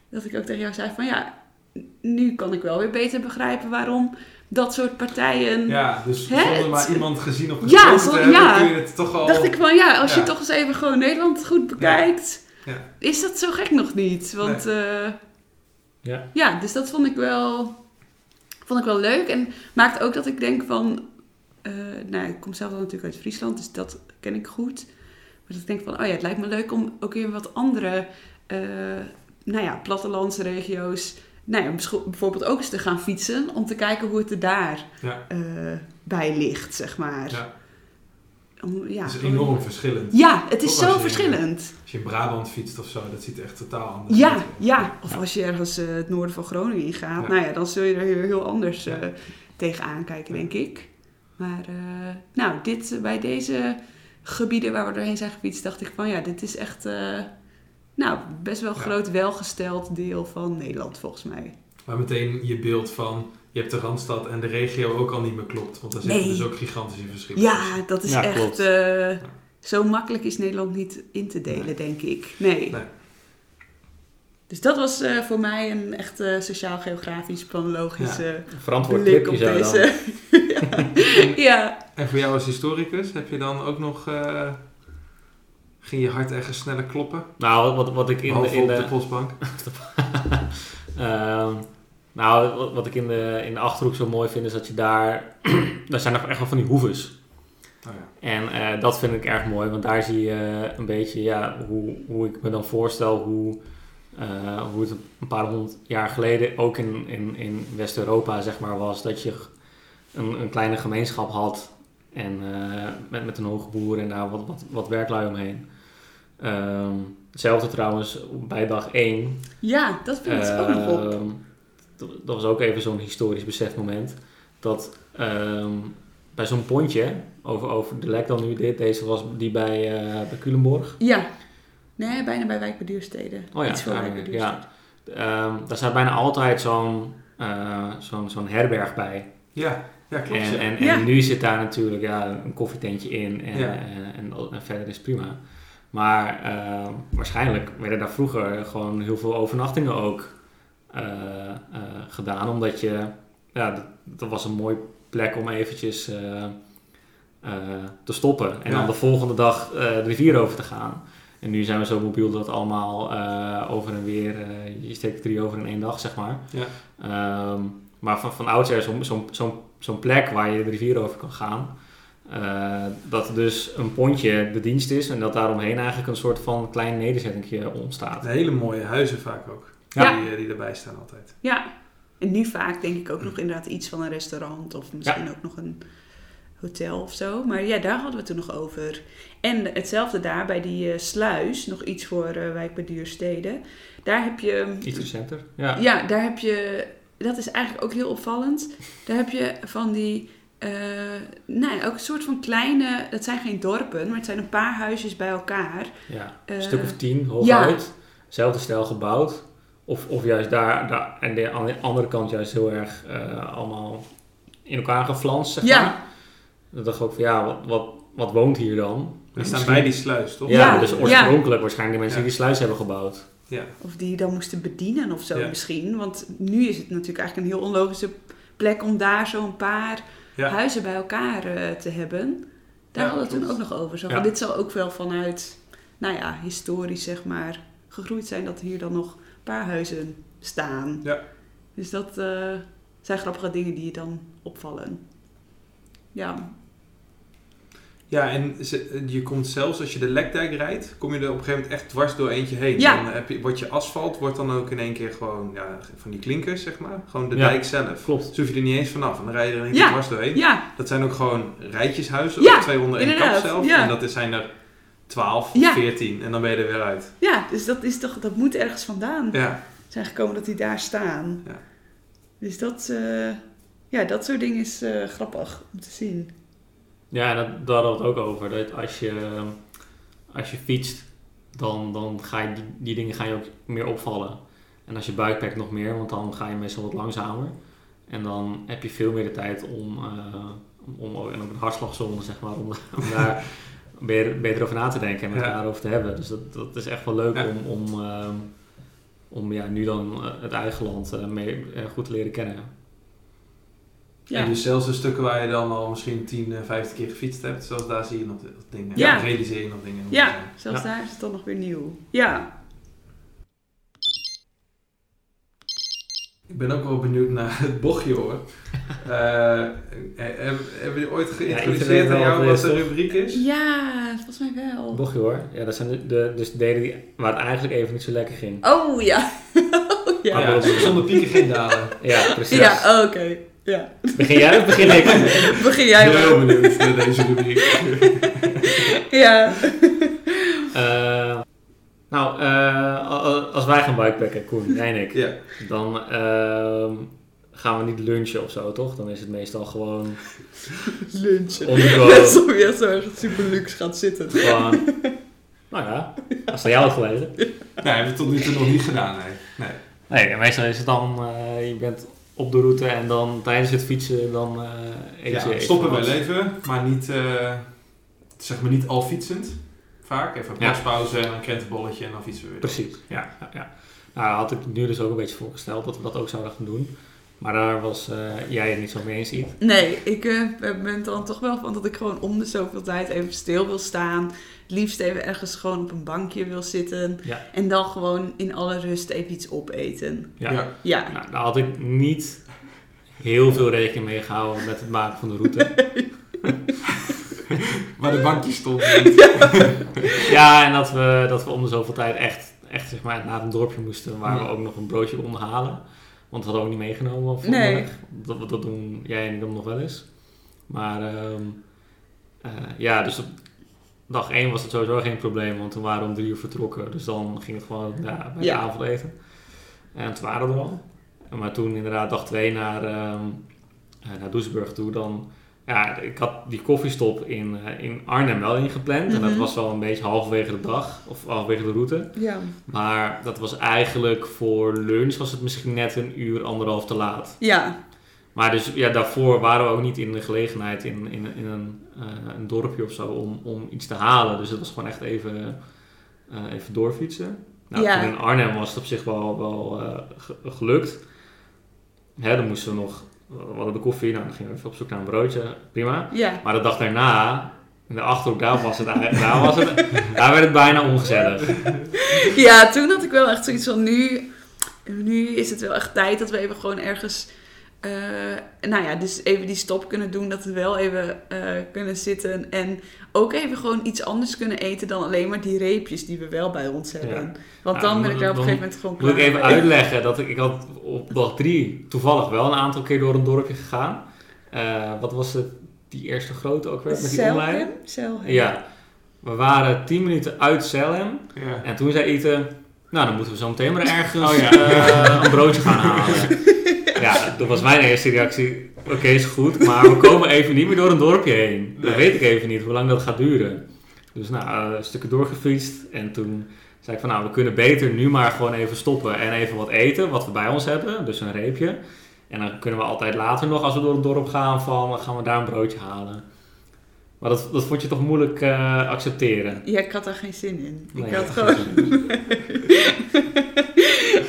B: Dat ik ook tegen jou zei van ja, nu kan ik wel weer beter begrijpen waarom dat soort partijen.
A: Ja, dus
B: Hè?
A: zonder maar iemand gezien of
B: Ja,
A: gesproken te
B: zonder-
A: hebben,
B: ja.
A: kun je het toch al...
B: Dacht ik van ja, als je
A: Ja.
B: toch eens even gewoon Nederland goed bekijkt,
A: Ja.
B: is dat zo gek nog niet. Want eh,
C: Ja.
B: ja, dus dat vond ik wel, vond ik wel leuk. En maakt ook dat ik denk van... eh, nou, ik kom zelf dan natuurlijk uit Friesland, dus dat ken ik goed. Maar dat ik denk van, oh ja, het lijkt me leuk om ook weer wat andere... eh nou ja, plattelandse regio's... Nou ja, misschien- bijvoorbeeld ook eens te gaan fietsen... om te kijken hoe het er daar
A: Ja.
B: eh, bij ligt, zeg maar.
A: Ja.
B: Om- ja,
A: Het is enorm verschillend.
B: Ja, het is
A: Ook als
B: zo
A: je-
B: verschillend.
A: Als je in Brabant fietst of zo, dat ziet er echt totaal anders
B: Ja,
A: uit.
B: ja. Of als je ergens eh, het noorden van Groningen ingaat,
A: Ja.
B: nou ja, dan zul je er heel, heel anders eh,
A: Ja.
B: tegenaan kijken,
A: Ja.
B: denk ik. Maar eh, nou, dit, eh, bij deze gebieden waar we doorheen zijn gefietst, dacht ik van ja, dit is echt eh, nou, best wel een
A: Ja.
B: groot welgesteld deel van Nederland volgens mij.
A: Maar meteen je beeld van, je hebt de Randstad en de regio ook al niet meer klopt. Want daar zitten
B: Nee.
A: dus ook gigantische verschillen tussen.
B: Ja, dat is
C: Ja,
B: echt.
C: klopt.
B: eh, zo makkelijk is Nederland niet in te delen,
A: Nee.
B: denk ik. Nee.
A: Nee.
B: Dus dat was eh, voor mij een echt eh, sociaal-geografisch, planologische
C: Verantwoord
B: blik op
C: tipje zou je dan.
B: deze. ja. ja.
A: En voor jou als historicus, heb je dan ook nog... eh, ging je hart ergens sneller kloppen?
C: Nou, wat, wat ik in, de-
A: Behalve
C: in
A: op
C: de...
A: de postbank?
C: Ehm, nou, wat, wat ik in de, in de Achterhoek zo mooi vind, is dat je daar... daar zijn nog echt wel van die hoeves.
A: Oh ja.
C: En eh, dat vind ik erg mooi, want daar zie je eh, een beetje ja, hoe, hoe ik me dan voorstel hoe, eh, hoe het een paar honderd jaar geleden ook in, in, in West-Europa zeg maar, was. Dat je een, een kleine gemeenschap had en, eh, met, met een hoge boer en daar wat, wat, wat werklui omheen. Ehm, hetzelfde trouwens bij dag 1
B: dat viel ons ook nog op.
C: Ehm, dat, dat was ook even zo'n historisch besefmoment. Dat ehm, bij zo'n pontje, over, over de lek dan nu dit, deze was die bij, eh, bij Culemborg.
B: Ja. Nee, bijna bij Wijk bij Duurstede.
C: Oh
B: Iets
C: ja,
B: dus. voor
C: daar
B: Wijk
C: ben
B: bij
C: ik, ja.
B: Duurstede.
C: Ehm, daar staat bijna altijd zo'n eh, zo'n zo'n herberg bij.
A: Ja, ja klopt.
C: En,
A: ja.
C: en,
B: Ja.
C: en nu zit daar natuurlijk ja, een koffietentje in en,
A: Ja.
C: en, en, en verder is prima. Maar ehm, waarschijnlijk werden daar vroeger gewoon heel veel overnachtingen ook eh, eh, gedaan. Omdat je, ja, dat, dat was een mooie plek om eventjes eh, eh, te stoppen. En
A: Ja.
C: dan de volgende dag eh, de rivier over te gaan. En nu zijn we zo mobiel dat allemaal eh, over en weer, eh, je steekt drie over in één dag, zeg maar.
A: Ja.
C: Ehm, maar van, van oudsher zo'n zo'n zo'n zo'n plek waar je de rivier over kan gaan. Eh, dat dus een pontje de dienst is en dat daaromheen eigenlijk een soort van klein nederzettingje ontstaat.
A: Hele mooie huizen vaak ook.
B: Ja.
A: Die, eh, die erbij staan altijd.
B: Ja. En nu vaak denk ik
C: Hm.
B: ook nog inderdaad iets van een restaurant of misschien ook nog een hotel of zo. Maar ja, daar hadden we het toen nog over. En hetzelfde daar bij die eh, sluis, nog iets voor eh, Wijk bij Duurstede. Daar heb je...
C: Iets recenter. Ja.
B: Ja, daar heb je, dat is eigenlijk ook heel opvallend. Daar heb je van die, eh, nou ja, ook een soort van kleine, dat zijn geen dorpen, maar het zijn een paar huisjes bij elkaar.
C: ja.
B: Eh,
C: Een stuk of tien, hooguit. Zelfde stijl gebouwd. Of, of juist daar, daar en de, aan de andere kant juist heel erg eh, allemaal in elkaar geflanst, zeg
B: Ja.
C: maar. dan dacht ik ook van ja, wat, wat, wat woont hier dan?
A: Die staan
C: Misschien-
A: bij die sluis, toch?
C: ja,
B: Ja,
C: dus
B: ja.
C: oorspronkelijk waarschijnlijk de mensen
A: Ja.
C: die die sluis hebben gebouwd.
A: Ja.
B: Of die je dan moesten bedienen of zo
A: Ja.
B: misschien. Want nu is het natuurlijk eigenlijk een heel onlogische plek om daar zo'n paar
A: Ja.
B: huizen bij elkaar eh, te hebben. Daar
A: Ja,
B: hadden we toen ook
A: klopt.
B: nog over. Zo
C: Ja.
B: van, Dit zal ook wel vanuit, nou ja, historisch zeg maar, gegroeid zijn dat hier dan nog een paar huizen staan.
A: Ja.
B: Dus dat eh, zijn grappige dingen die je dan opvallen. Ja,
A: Ja, en ze- je komt zelfs als je de Lekdijk rijdt, kom je er op een gegeven moment echt dwars door eentje heen.
B: Ja.
A: Dan heb je, wordt je asfalt, wordt dan ook in één keer gewoon ja, van die klinkers, zeg maar. Gewoon de
C: Ja.
A: dijk zelf.
C: Klopt.
A: Dus hoef je er niet eens vanaf. En dan rij je er in één
B: Ja.
A: keer dwars doorheen.
B: ja
A: Dat zijn ook gewoon rijtjeshuizen,
B: Ja,
A: of twee onder één kap
B: inderdaad,
A: zelf.
B: ja.
A: En dat is- zijn er 12,
B: Ja.
A: 14 en dan ben je er weer uit.
B: Ja, dus dat, is toch, dat moet ergens vandaan
A: Ja,
B: zijn gekomen dat die daar staan.
A: Ja.
B: Dus dat, eh, ja, dat soort dingen is eh, grappig om te zien.
C: Ja, en dat, daar hadden we het ook over. Dat als je, ehm, als je fietst, dan, dan ga je die, die dingen gaan je ook meer opvallen. En als je buikpakt nog meer, want dan ga je meestal wat langzamer. En dan heb je veel meer de tijd om, eh, om- om ook- en ook een hartslagzone, zeg maar, om, om daar beter, beter over na te denken en met
A: Ja.
C: elkaar over te hebben. Dus dat, dat is echt wel leuk
A: Ja.
C: om, om, ehm, om ja, nu dan eh, het eigen land eh, mee, eh, goed te leren kennen.
B: Ja,
A: en dus zelfs de stukken waar je dan al misschien 10, eh, 15 keer gefietst hebt, zelfs daar zie je nog dingen.
B: Ja.
A: Daar realiseer je nog dingen.
B: ja zelfs
C: Ja.
B: daar is het dan nog weer nieuw. Ja,
A: Ik ben ook wel benieuwd naar het bochtje hoor. Eh, eh, hebben hebben jullie ooit
C: weet
A: geïntroduceerd
C: wel
A: aan jou
C: wat
A: wat
C: het
A: de
C: is,
A: rubriek is?
B: ja volgens mij wel.
C: Bochtje hoor. Ja, dat zijn de, de, dus de delen die, waar het eigenlijk even niet zo lekker ging.
B: Oh ja. oh, ja.
C: Ah, dat is-
A: zonder pieken geen dalen.
C: Ja, precies.
B: Ja, oké. Ja.
C: Begin jij of begin ik?
B: Begin jij maar.
A: Heel benieuwd naar deze rubriek.
B: Ja.
C: Eh, nou, eh, a- a- als wij gaan bikepacken, Koen, jij en ik,
A: Ja,
C: dan ehm, gaan we niet lunchen of zo, toch? Dan is het meestal gewoon,
B: Lunchen.
C: On the go.
B: Alsof je echt zo ergens super luxe gaat zitten.
C: gewoon nou ja, als dat jou had geleden.
A: nee, hebben we tot nu toe nog niet gedaan. Nee. Nee.
C: Nee, en meestal is het dan, eh, je bent op de route en dan tijdens het fietsen, dan eh eet
A: Ja,
C: je... eet je
A: stoppen
C: wat.
A: bij leven, maar niet, eh, zeg maar niet al fietsend. Vaak even een
C: Ja.
A: plaspauze en een krentenbolletje en dan fietsen we weer.
C: Precies, ja. ja, ja. Nou, had ik nu dus ook een beetje voorgesteld dat we dat ook zouden gaan doen. Maar daar was eh, jij het niet zo mee eens, Iet.
B: Nee, ik eh, ben dan toch wel van dat ik gewoon om de zoveel tijd even stil wil staan. Het liefst even ergens gewoon op een bankje wil zitten.
C: Ja.
B: En dan gewoon in alle rust even iets opeten.
A: Ja. Ja.
B: Ja.
C: Nou, daar had ik niet heel veel rekening mee gehouden met het maken van de route.
A: Waar de bankjes stonden.
C: ja, en dat we, dat we om de zoveel tijd echt, echt zeg maar, naar een dorpje moesten waar we ook nog een broodje konden halen. Want we hadden ook niet meegenomen van
B: Nee.
C: de weg. Dat, dat doen jij en ik dan nog wel eens. Maar ehm, eh, ja, dus op dag 1 was het sowieso geen probleem, want toen waren we om drie uur vertrokken. Dus dan ging het gewoon ja, bij
B: Ja.
C: het avondeten. En toen waren we er al. Maar toen inderdaad dag 2 naar, ehm, eh, naar Doesburg toe, dan... Ja, ik had die koffiestop in, eh, in Arnhem wel ingepland. En dat
B: Mhm.
C: was wel een beetje halverwege de dag, of halverwege de route.
B: Ja.
C: Maar dat was eigenlijk voor lunch was het misschien net een uur, anderhalf te laat.
B: Ja.
C: Maar dus ja, daarvoor waren we ook niet in de gelegenheid in, in, in een, eh, een dorpje of zo om, om iets te halen. Dus het was gewoon echt even, eh, even doorfietsen. Nou,
B: Ja.
C: toen in Arnhem was het op zich wel, wel eh, ge- gelukt. Hè, dan moesten we nog, we hadden de koffie, nou, dan gingen we even op zoek naar een broodje. Prima.
B: Ja.
C: Maar de dag daarna, in de achterhoek, daar was het, eigenlijk- daar, was het, daar werd het bijna ongezellig.
B: ja, toen had ik wel echt zoiets van nu, nu is het wel echt tijd dat we even gewoon ergens... eh, nou ja, dus even die stop kunnen doen, dat we wel even eh, kunnen zitten. En ook even gewoon iets anders kunnen eten dan alleen maar die reepjes die we wel bij ons hebben. Want
C: Ja,
B: dan
C: dan-
B: ben ik daar op een gegeven
C: dan-
B: moment gewoon
C: Moet ik
B: klaar
C: even
B: mee.
C: uitleggen dat ik, ik had op dag drie toevallig wel een aantal keer door een dorpje gegaan. Eh, wat was het, die eerste grote ook weer met die
B: Zelhem?
C: online?
B: Zelhem.
C: Ja. We waren 10 minuten uit Selham
A: Ja.
C: en toen zei Eten, nou dan moeten we zo meteen maar ergens
A: Oh ja.
C: eh, een broodje gaan halen. Ja, dat was mijn eerste reactie. Oké, is goed, maar we komen even niet meer door een dorpje heen. Dat
A: Nee.
C: weet ik even niet, hoe lang dat gaat duren. Dus nou, eh, een stukje doorgefietst en toen zei ik van nou, we kunnen beter nu maar gewoon even stoppen en even wat eten, wat we bij ons hebben, dus een reepje. En dan kunnen we altijd later nog, als we door het dorp gaan, van gaan we daar een broodje halen. Maar dat, dat vond je toch moeilijk eh, accepteren?
B: Ja, ik had daar geen zin in.
C: Nee,
B: ik had
C: dat
B: gewoon...
C: is niet zo.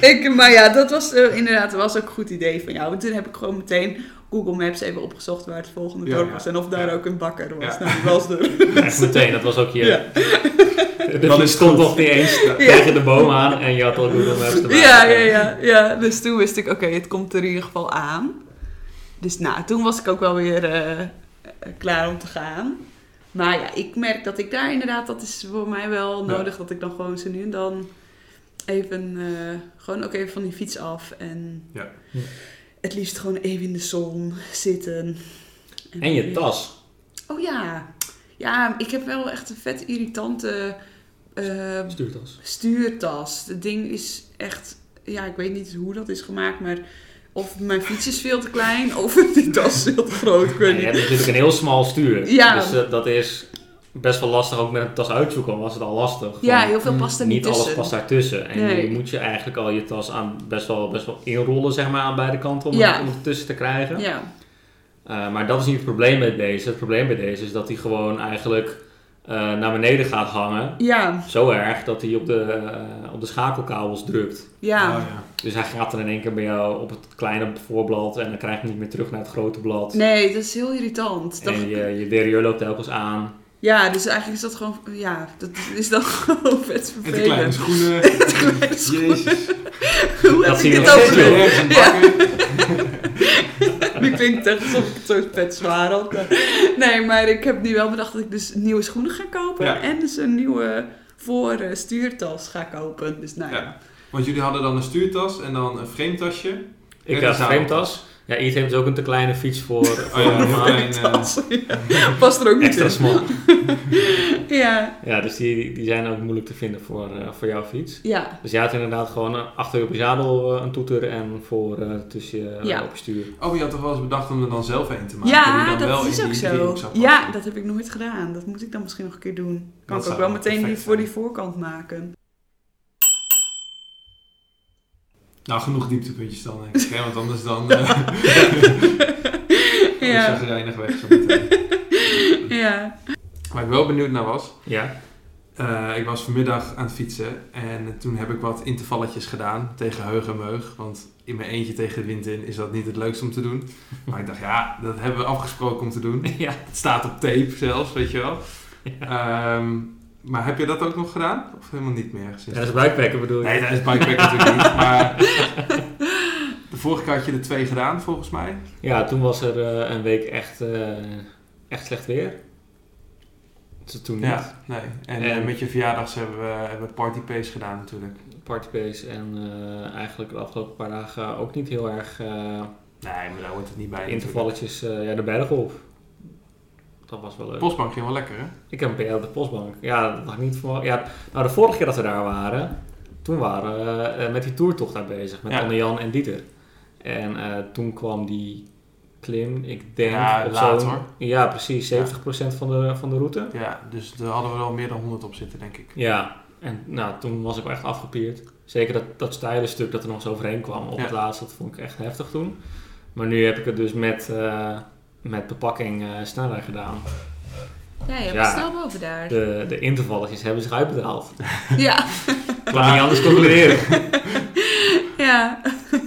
B: ik, maar ja, dat was eh, inderdaad dat was ook een goed idee van jou. En toen heb ik gewoon meteen Google Maps even opgezocht waar het volgende
A: Ja,
B: dorp
A: ja.
B: was. En of daar
A: Ja.
B: ook een bakker was.
A: Ja.
B: Nou, die was er.
C: Echt meteen, dat was ook je...
B: Ja.
C: Dat
A: Dan
C: je
A: is het
C: stond
A: goed.
C: nog niet eens
A: Ja.
C: tegen de boom aan en je had al Google Maps erbij.
B: Ja, ja, ja, ja. Dus toen wist ik, oké, het komt er in ieder geval aan. Dus nou, toen was ik ook wel weer eh, eh, klaar om te gaan. Maar ja, ik merk dat ik daar inderdaad, dat is voor mij wel
A: Ja.
B: nodig, dat ik dan gewoon zo nu en dan even, eh, gewoon ook even van die fiets af. En
A: Ja.
C: Hm.
B: het liefst gewoon even in de zon zitten.
C: En je tas.
B: Oh ja. Ja, ik heb wel echt een vet irritante eh,
C: Stuurtas.
B: stuurtas. Het ding is echt, ja, ik weet niet hoe dat is gemaakt, maar of mijn fiets is veel te klein of die tas is veel te groot. Ik
C: Ja,
B: weet
C: je
B: niet.
C: hebt natuurlijk een heel smal stuur.
B: Ja.
C: Dus eh, dat is best wel lastig, ook met een tas uitzoeken al was het al lastig.
B: Ja,
C: Van,
B: heel veel
A: Mm,
B: past er niet
C: niet alles
B: tussen.
C: past daartussen. En
B: Nee.
C: je moet je eigenlijk al je tas aan best wel, best wel inrollen zeg maar, aan beide kanten om,
B: Ja.
C: het, om het tussen te krijgen.
B: Ja,
C: Eh, maar dat is niet het probleem met deze. Het probleem bij deze is dat hij gewoon eigenlijk eh, naar beneden gaat hangen.
B: ja,
C: Zo erg dat hij op de, eh, op de schakelkabels drukt.
B: ja.
A: Oh, ja.
C: Dus hij gaat er in één keer bij jou op het kleine voorblad en dan krijg je niet meer terug naar het grote blad.
B: Nee, dat is heel irritant. Dat-
C: En je, je derieur loopt telkens aan.
B: ja, dus eigenlijk is dat gewoon, ja, dat is dan gewoon vet
A: En te kleine
B: vervelend.
A: schoenen.
B: Te kleine schoenen.
A: Jezus.
B: Hoe heb
C: Dat
B: ik
C: zie je
B: dit
C: nog steeds,
B: over?
C: joh.
A: Ergens een bakker.
B: Nu klinkt het echt alsof ik het zo vet zwaar had. maar- Nee, maar ik heb nu wel bedacht dat ik dus nieuwe schoenen ga kopen.
A: Ja.
B: En dus een nieuwe voor eh, stuurtas ga kopen. Dus nou ja.
A: Ja. Want jullie hadden dan een stuurtas en dan een frametasje.
C: Ik
A: Ja,
C: heb
A: dat
C: een
A: zou-
C: vreemdtas. Ja, Iet heeft dus ook een te kleine fiets voor, voor
A: ja,
C: normaal.
A: maar- Mijn, eh,
B: Tas, ja. Past er ook niet
C: extra
B: in.
C: smal.
B: Ja,
C: Ja, dus die, die zijn ook moeilijk te vinden voor, eh, voor jouw fiets.
B: ja,
C: Dus jij had inderdaad gewoon eh, achter je op je zadel eh, een toeter en voor eh, tussen je eh,
B: Ja.
C: op je stuur.
A: Oh, je had toch wel eens bedacht om er dan zelf een te maken? die
B: ja
A: dan wel
B: dat
A: in
B: is
A: die
B: ook zo.
A: driehoek zou passen.
B: Ja, dat heb ik nooit gedaan. Dat moet ik dan misschien nog een keer doen. Kan
A: Dat
B: ik ook
A: zou
B: wel meteen die
A: perfect
B: voor die
A: zijn.
B: voorkant maken.
A: Nou, genoeg dieptepuntjes dan, denk ik. Hè? Want anders dan eh ja.
B: Ja,
A: is reinig weg zo meteen.
B: ja.
A: Waar ik wel benieuwd naar was,
C: Ja.
A: Eh, ik was vanmiddag aan het fietsen en toen heb ik wat intervalletjes gedaan tegen heug en meug. Want in mijn eentje tegen de wind in is dat niet het leukste om te doen. Maar ik dacht, ja, dat hebben we afgesproken om te doen.
C: ja.
A: Het staat op tape zelfs, weet je wel. Ehm, maar heb je dat ook nog gedaan? Of helemaal niet meer? Sinds...
C: dat is buikwekken bedoel je?
A: Nee, dat is bikepack natuurlijk niet. Maar de vorige keer had je er twee gedaan, volgens mij.
C: Ja, toen was er eh, een week echt, eh, echt slecht weer. Dus toen niet.
A: Ja, nee. En, eh,
C: En-
A: met je verjaardags hebben we, hebben we party pace gedaan natuurlijk.
C: Partybase en eh, eigenlijk de afgelopen paar dagen ook niet heel erg eh
A: Nee, maar daar hoort het niet bij. natuurlijk.
C: intervalletjes eh, ja, de berg op. Dat was wel leuk.
A: Postbank ging wel lekker, hè?
C: Ik heb een PR op de postbank. Ja, dat had ik niet verwacht. Ja, nou, de vorige keer dat we daar waren, toen waren we eh, met die toertocht daar bezig. Met
A: Ja.
C: Anne-Jan en Dieter. En eh, toen kwam die klim, ik denk...
A: Ja,
C: op
A: laat,
C: zo'n-
A: hoor.
C: Ja, precies. 70% van, de, van de route.
A: Ja, dus daar hadden we wel meer dan 100 op zitten, denk ik.
C: Ja, en nou, toen was ik wel echt afgepierd. Zeker dat, dat steile stuk dat er nog eens overheen kwam op
A: Ja.
C: het laatst, dat vond ik echt heftig toen. Maar nu heb ik het dus met, eh, met bepakking eh, sneller gedaan.
B: Ja, je hebt
C: Ja.
B: het snel boven daar.
C: De, de intervalletjes hebben zich uitbetaald. Ik
B: Ja,
C: kan niet anders concluderen.
B: ja.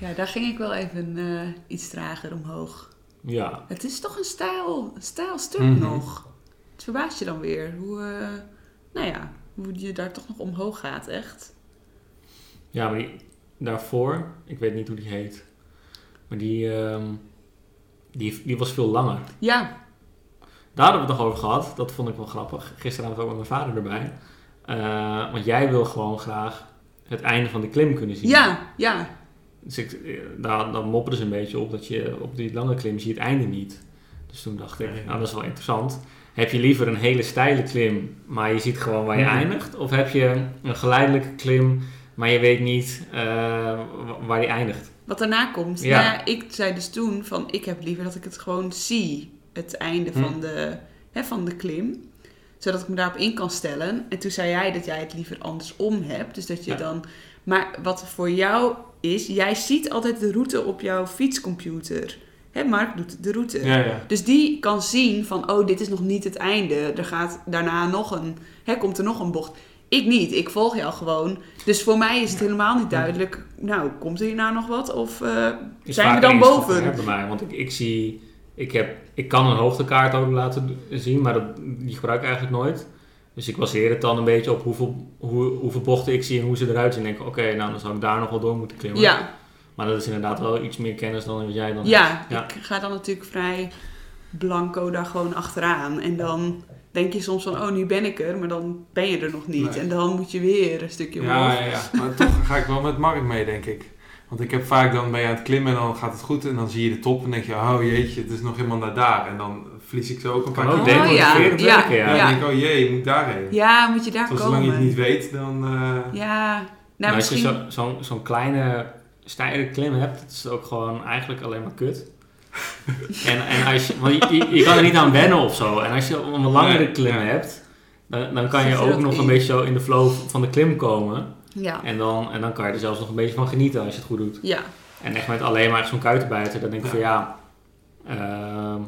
B: Ja, daar ging ik wel even eh, iets trager omhoog.
C: Ja,
B: Het is toch een stijl, een stijl stuk
A: Mhm.
B: nog. Het verbaast je dan weer hoe, eh, nou ja, hoe je daar toch nog omhoog gaat, echt.
C: ja maar die, daarvoor, ik weet niet hoe die heet. Maar die, ehm, die, die was veel langer.
B: Ja,
C: Daar hadden we het nog over gehad. Dat vond ik wel grappig. Gisteravond ook met mijn vader erbij. Eh, want jij wil gewoon graag het einde van de klim kunnen zien.
B: ja, ja,
C: Dus ik, eh, daar, dan mopperen ze een beetje op dat je op die lange klim zie je het einde niet. Dus toen dacht ik,
A: Nee.
C: nou dat is wel interessant. Heb je liever een hele steile klim, maar je ziet gewoon waar je
A: Mhm.
C: eindigt? Of heb je een geleidelijke klim, maar je weet niet eh, wa- waar die eindigt?
B: wat daarna komt.
C: Ja.
B: Ja. ik zei dus toen van, ik heb liever dat ik het gewoon zie, het einde
A: Hm.
B: van, de, hè, van de klim. Zodat ik me daarop in kan stellen. En toen zei jij dat jij het liever andersom hebt. Dus dat je
C: Ja.
B: dan... Maar wat voor jou is, jij ziet altijd de route op jouw fietscomputer. hè, Mark doet de route.
A: Ja, ja.
B: Dus die kan zien van, oh, dit is nog niet het einde. Er gaat daarna nog een, hè, komt er nog een bocht. Ik niet, ik volg jou gewoon. Dus voor mij is het helemaal niet duidelijk. Nou, komt er hierna nog wat? Of eh,
C: Is
B: zijn we
C: vaak
B: dan
C: eens te
B: boven?
C: ver bij mij, want ik, ik zie, ik, heb, ik kan een hoogtekaart ook laten d- zien, maar dat, die gebruik ik eigenlijk nooit. Dus ik baseer het dan een beetje op hoeveel, hoe, hoeveel bochten ik zie en hoe ze eruit zien. En denk, oké, nou dan zou ik daar nog wel door moeten klimmen.
B: ja,
C: Maar dat is inderdaad wel iets meer kennis dan wat jij dan
B: ja,
C: Ja.
B: ik ga dan natuurlijk vrij blanco daar gewoon achteraan. En dan denk je soms van, oh, nu ben ik er. Maar dan ben je er nog niet.
A: Nee.
B: En dan moet je weer een stukje omhoog.
A: Ja, ja, ja. Maar toch ga ik wel met Mark mee, denk ik. Want ik heb vaak dan ben je aan het klimmen en dan gaat het goed en dan zie je de top en denk je, oh jeetje, het is nog helemaal naar daar. En dan verlies ik zo ook een
C: Kan
A: paar
C: ook
B: Oh,
A: keer.
B: denken.
C: demotiverend
B: ja,
C: werken,
A: Ja,
C: ja.
B: ja.
A: dan denk ik, oh jee, je moet daarheen.
B: Ja, moet je daar
A: Want
B: komen.
A: zolang je het niet weet, dan... eh,
B: Ja, nou,
C: Nou, als je
B: misschien...
C: zo- zo'n zo'n kleine steile klim hebt, dat is ook gewoon eigenlijk alleen maar kut. en, en als je, want je, je, je kan er niet aan wennen of zo. En als je een langere
A: Nee,
C: klim
A: ja.
C: hebt, dan, dan kan je
B: Zit er
C: ook
B: dat
C: nog
B: in?
C: een beetje zo in de flow van de klim komen.
B: Ja,
C: En dan, en dan kan je er zelfs nog een beetje van genieten als je het goed doet.
B: ja.
C: En echt met alleen maar zo'n kuitenbijter, dan denk ik
A: Ja.
C: van ja, ehm,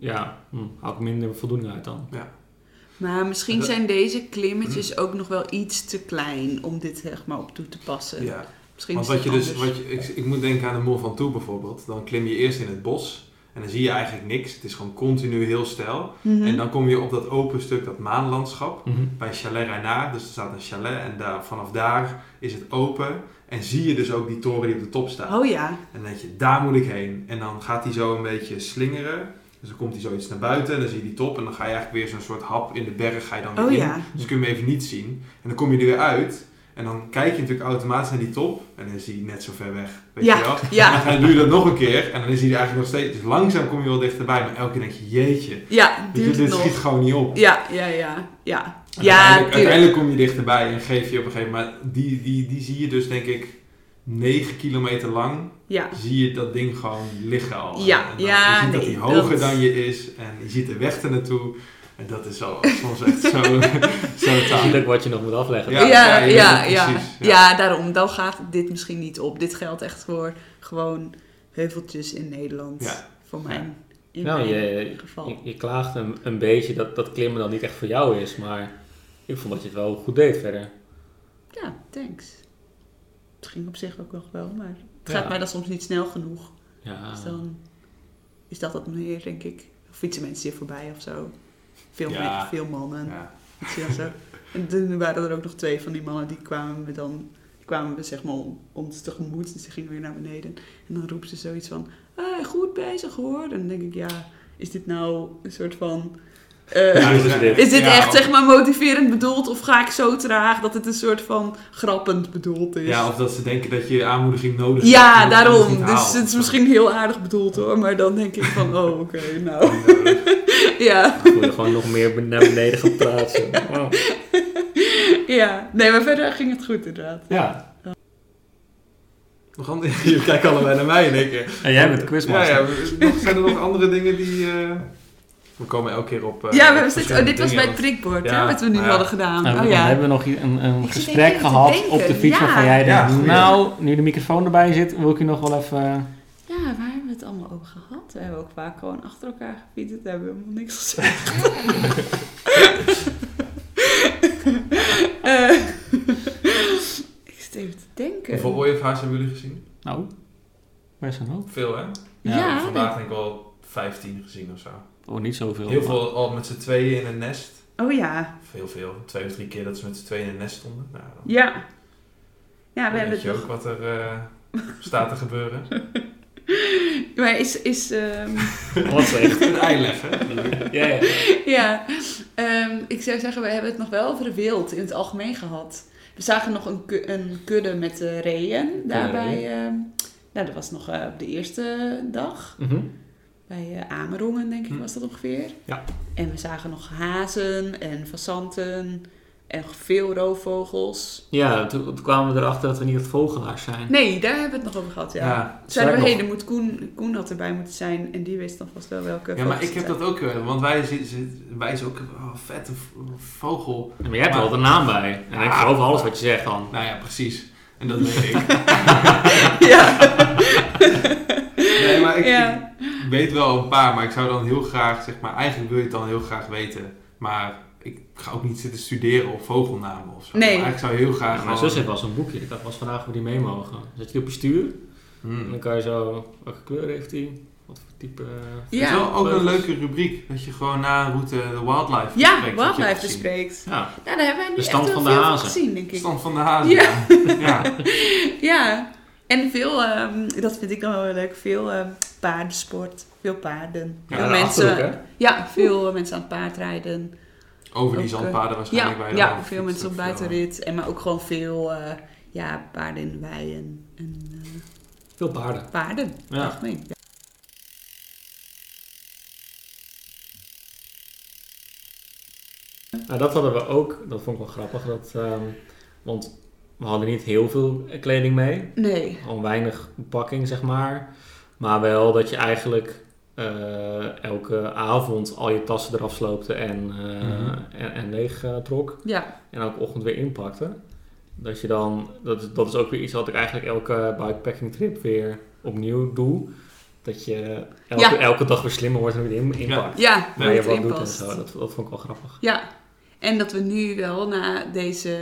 C: ja hm, haal ik minder voldoening uit dan.
B: Maar misschien
A: Dat-
B: zijn deze klimmetjes ook nog wel iets te klein om dit zeg maar op toe te passen.
A: ja.
B: Misschien
A: Want
B: is
A: wat je
B: het
A: dus,
B: anders.
A: wat je, ik, ik moet denken aan de Mol van Toe bijvoorbeeld. Dan klim je eerst in het bos en dan zie je eigenlijk niks. Het is gewoon continu heel stijl.
B: Mhm.
A: En dan kom je op dat open stuk, dat maanlandschap,
C: Mhm.
A: bij Chalet Reynard. Dus er staat een chalet en daar, vanaf daar is het open. En zie je dus ook die toren die op de top staat.
B: Oh ja,
A: En dan denk je, daar moet ik heen. En dan gaat hij zo een beetje slingeren. Dus dan komt hij zoiets naar buiten en dan zie je die top. En dan ga je eigenlijk weer zo'n soort hap in de berg ga je dan weer
B: oh
A: in.
B: ja.
A: Dus kun je hem even niet zien. En dan kom je er weer uit. En dan kijk je natuurlijk automatisch naar die top. En dan is hij net zo ver weg. Weet
B: Ja,
A: je wel? En
B: ja,
A: dan doe je dat nog een keer. En dan is hij er eigenlijk nog steeds. Dus langzaam kom je wel dichterbij. Maar elke keer denk je, jeetje.
B: ja,
A: Weet je,
B: duurt het
A: dit schiet
B: nog.
A: gewoon niet op.
B: Ja, ja, ja, ja.
A: En
B: Ja,
A: uiteindelijk,
B: tuurlijk.
A: uiteindelijk kom je dichterbij en geef je op een gegeven moment. Maar die, die, die zie je dus denk ik 9 kilometer lang
B: Ja,
A: zie je dat ding gewoon liggen al.
B: Ja,
A: en dan,
B: ja,
A: je ziet dat
B: nee,
A: hij hoger
B: dat-
A: dan je is en je ziet de weg ernaartoe. En dat is al soms echt zo, zo
C: Je ziet
A: taai.
C: ook wat je nog moet afleggen.
B: ja,
A: Ja,
B: ja,
A: ja, je weet
B: ja,
A: het
B: ja.
A: precies, ja.
B: daarom. Dan gaat dit misschien niet op. Dit geldt echt voor gewoon heuveltjes in Nederland.
A: Ja.
B: Voor mijn, in
C: Nou,
B: mijn
C: je,
B: geval.
C: Je, je klaagt een, een beetje dat, dat klimmen dan niet echt voor jou is, maar ik vond dat je het wel goed deed verder.
B: Ja, thanks. Het ging op zich ook nog wel, maar het
C: Ja.
B: gaat mij dan soms niet snel genoeg.
A: Ah.
C: Ja,
B: Dus dan is dat het meer, denk ik. Of fietsen mensen hier voorbij of zo. Veel,
A: Ja.
B: men- veel mannen.
A: Ja.
B: Ik zie dat zo. En toen waren er ook nog twee van die mannen die kwamen we dan die kwamen we zeg maar ons tegemoet. Dus ze gingen weer naar beneden. En dan roepen ze zoiets van, hey, goed bezig hoor. En dan denk ik, ja, is dit nou een soort van... eh,
C: Ja, is dit-
B: is dit
A: ja,
B: echt zeg maar motiverend bedoeld of ga ik zo traag dat het een soort van grappend bedoeld is?
A: Ja, of dat ze denken dat je aanmoediging nodig hebt.
B: Ja,
A: en Dus dat je het
B: daarom.
A: niet
B: Dus
A: haalt.
B: het is misschien heel aardig bedoeld hoor, maar dan denk ik van, oh oké, nou. ja,
C: dan word je gewoon nog meer ben- naar beneden gepraat. zo. Wow.
B: ja. Nee, maar verder ging het goed inderdaad.
C: Ja,
A: Nog andere, je kijkt allebei naar mij in één keer.
C: en jij bent
A: Ja,
C: quizmaster. Nou,
A: ja, we- nog- zijn er nog andere dingen die... eh, we komen elke keer op... eh,
B: ja, we hebben
A: op
B: steeds, oh,
A: verschillende
B: dit was bij
A: dingen,
B: het prikbord
A: Ja,
B: hè, wat we nu
A: nou ja.
B: hadden gedaan.
C: Nou,
B: oh
C: Dan
B: ja.
C: hebben we nog i- een, een
B: Ik zit
C: gesprek
B: even te
C: gehad
B: denken,
C: op de fiets
B: ja.
C: waarvan jij
A: Ja,
C: denkt,
A: goeie.
C: nou, nu de microfoon erbij zit, wil ik je nog wel even...
B: Ja, waar hebben we het allemaal over gehad? We hebben ook vaak gewoon achter elkaar gefietst. Daar hebben we helemaal niks gezegd. Eh, ik zit even te denken.
A: Hoeveel ooievaars hebben jullie gezien?
C: Nou, best een hoop.
A: Veel, hè?
B: Ja,
C: Ja,
A: Vandaag denk ik wel 15 gezien of zo.
C: Oh, niet zoveel.
A: Heel veel al met z'n tweeën in een nest.
B: oh ja.
A: Veel, veel. Twee of drie keer dat ze met z'n tweeën in een nest stonden. Nou, dan
B: Ja. Ja, we
A: weet
B: hebben het
A: je
B: nog
A: ook wat er eh, staat te gebeuren.
B: Maar is, is ehm,
C: Oh, Wat slecht.
A: Een ei leggen.
C: Ja, ja.
B: ja, Ehm, ik zou zeggen, we hebben het nog wel over de wild in het algemeen gehad. We zagen nog een, ku- een kudde met eh, reeën daarbij. ehm, nou, dat was nog eh, op de eerste dag.
C: Mhm.
B: Bij eh, Amerongen, denk ik,
A: Hm.
B: was dat ongeveer.
C: Ja.
B: En we zagen nog hazen en fazanten en veel roofvogels.
C: Ja, toen, toen kwamen we erachter dat we niet het vogelaars zijn.
B: Nee, daar hebben we het nog over gehad, ja.
A: Hm. Ja.
B: Zeiden we,
C: nog-
B: hé, er moet Koen, Koen had erbij moeten zijn. En die wist dan vast wel welke
A: ja, maar
B: vogels
A: ik heb
B: het
A: dat ook heel erg, Want wij, zi- zi- wij is ook oh, vette v- vogel.
C: Ja, Maar Ah. jij hebt er wel de naam bij. En ik geloof alles wat je zegt dan.
A: Nou ja, precies. En dat weet ik.
B: zijn. Ja.
A: Nee, maar ik,
B: Ja.
A: ik- weet wel een paar, maar ik zou dan heel graag, zeg maar, eigenlijk wil je het dan heel graag weten. Maar ik ga ook niet zitten studeren op vogelnamen of zo.
B: Nee.
A: Maar eigenlijk zou je heel graag.
C: Ja, mijn
A: gewoon-
C: zus heeft wel zo'n boekje. Ik had was vandaag hoe die mee mogen. Dan zet je die op je stuur. En
A: Hmm.
C: dan kan je zo... Welke kleur heeft die? Wat voor type... eh,
A: Het is
B: Ja,
A: wel ook een
C: vleugels.
A: leuke rubriek. Dat je gewoon na een route de wildlife
B: ja
A: bespreekt, wat je hebt
B: wildlife
A: gezien.
B: bespreekt.
C: Ja.
B: Nou, daar hebben wij nu
C: De
B: echt
C: stand
B: wel
C: van de
B: veel
C: hazen.
B: gezien, denk ik.
A: Stand van de hazen. Ja.
B: Ja.
A: ja.
B: Ja, en veel, ehm, dat vind ik dan wel heel leuk, veel ehm, paardensport, veel paarden.
A: Ja,
B: veel
C: de Achterhoek, hè?
B: ja, veel eh, mensen aan het paard rijden.
A: Over die
B: Ook, eh,
A: zandpaden waarschijnlijk.
B: Ja,
A: waar je dan
B: ja
A: over
B: veel
A: fietst
B: mensen op
A: of eh, zo.
B: buitenrit, en maar ook gewoon veel eh, ja, paarden in weien en eh,
C: Veel paarden.
B: paarden.
C: Ja.
B: algemeen. Ja.
C: Nou, dat hadden we ook. Dat vond ik wel grappig. Dat, ehm, want we hadden niet heel veel kleding mee.
B: Nee,
C: Al weinig pakking, zeg maar. Maar wel dat je eigenlijk eh, elke avond al je tassen eraf sloopte en, eh,
A: Mhm.
C: en, en leeg eh, trok.
B: ja,
C: En elke ochtend weer inpakte. Dat je dan, dat is, dat is ook weer iets wat ik eigenlijk elke bikepacking trip weer opnieuw doe. Dat je elke,
B: Ja.
C: elke dag weer slimmer wordt en weer in, inpakt.
B: ja,
C: Waar je
B: wat
C: wat
B: erin
C: doet en
B: past.
C: zo. Dat, dat vond ik wel grappig.
B: Ja, en dat we nu wel na deze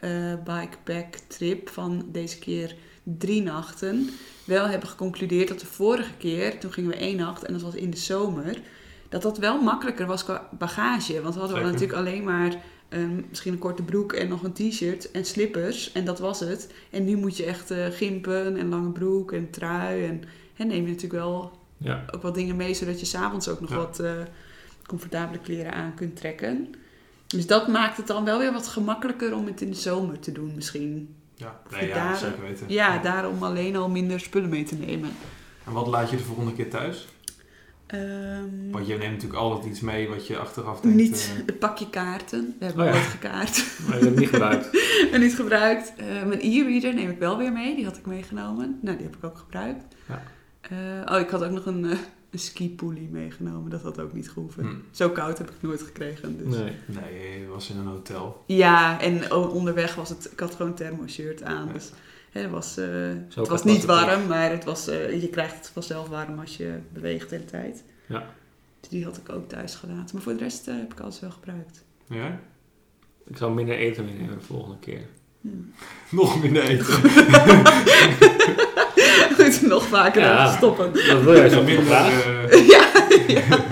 B: eh bikepack trip van deze keer drie nachten, wel hebben geconcludeerd dat de vorige keer, toen gingen we één nacht en dat was in de zomer, dat dat wel makkelijker was qua bagage. Want we hadden
A: Zeker.
B: natuurlijk alleen maar ehm, misschien een korte broek en nog een t-shirt en slippers en dat was het. En nu moet je echt eh, gimpen en lange broek en trui en, en neem je natuurlijk wel
C: Ja.
B: ook wat dingen mee, zodat je s'avonds ook nog
A: Ja.
B: wat eh, comfortabele kleren aan kunt trekken. Dus dat maakt het dan wel weer wat gemakkelijker om het in de zomer te doen misschien.
A: Ja,
B: Of
A: nee,
B: je
A: ja
B: daar-
A: zeker weten.
B: Ja, daarom alleen al minder spullen mee te nemen.
A: En wat laat je de volgende keer thuis?
B: Ehm,
A: Want je neemt natuurlijk altijd iets mee wat je achteraf denkt.
B: niet
A: eh,
B: het pakje kaarten. We hebben
C: Oh ja.
B: nooit gekaart
C: Maar ik heb het niet gebruikt.
B: en niet gebruikt. Eh, mijn e-reader neem ik wel weer mee. Die had ik meegenomen. Nou, die heb ik ook gebruikt.
C: Ja.
B: Eh, oh, ik had ook nog een, eh een ski-poolie meegenomen. Dat had ook niet gehoeven.
A: hm,
B: Zo koud heb ik het nooit gekregen. Dus.
C: Nee.
A: eh, nee, je was in een hotel.
B: Ja, en o- onderweg was het... Ik had gewoon een thermoshirt aan. Dus hè, het was, eh, het was
C: koud
B: niet
C: was het
B: warm, maar het was, eh, je krijgt het vanzelf warm als je beweegt de hele tijd.
C: Ja.
B: Dus die had ik ook thuis gelaten. Maar voor de rest eh, heb ik alles wel gebruikt.
A: Ja?
C: Ik zal minder eten meenemen de volgende keer.
B: Hm.
A: Nog minder eten.
B: Goed, nog vaker
C: Ja.
B: stoppen.
C: Dat wil jij zo
A: minder,
C: graag.
A: eh,
B: ja, ja.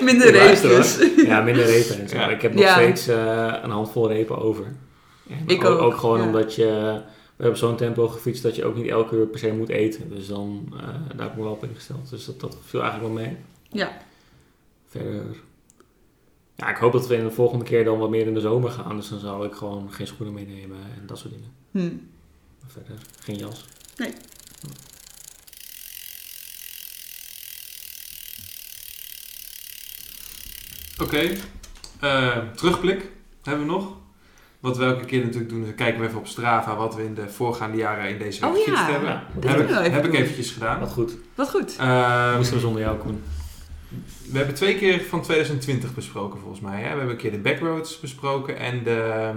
B: minder dus.
C: Luister, hoor.
B: reepjes.
C: Ja, minder repen en zo.
A: Ja.
C: Ik heb nog
B: Ja.
C: steeds eh, een handvol repen over.
A: nou,
C: En
B: Ik
C: ook,
B: ook,
C: gewoon
B: ja.
C: omdat je... We hebben zo'n tempo gefietst dat je ook niet elke uur per se moet eten. Dus dan, eh, daar heb ik me wel op ingesteld. Dus dat, dat viel eigenlijk wel mee.
B: Ja.
C: Verder... Ja, ik hoop dat we in de volgende keer dan wat meer in de zomer gaan. Dus dan zal ik gewoon geen schoenen meenemen en dat soort dingen.
B: Hm.
C: Maar Verder, geen jas.
B: Nee.
A: Oké, eh, terugblik hebben we nog. Wat we elke keer natuurlijk doen, is kijken we even op Strava wat we in de voorgaande jaren in deze week
B: Oh, ja.
A: gefietst hebben.
C: Ja, dat
A: heb
C: doen
A: ik,
B: we wel even
A: heb ik
B: doen.
A: eventjes gedaan.
C: Wat goed.
B: Wat goed.
A: Ehm,
C: Moesten we zonder jou, Koen.
A: we hebben twee keer van 2020 besproken volgens mij. Hè? We hebben een keer de backroads besproken en de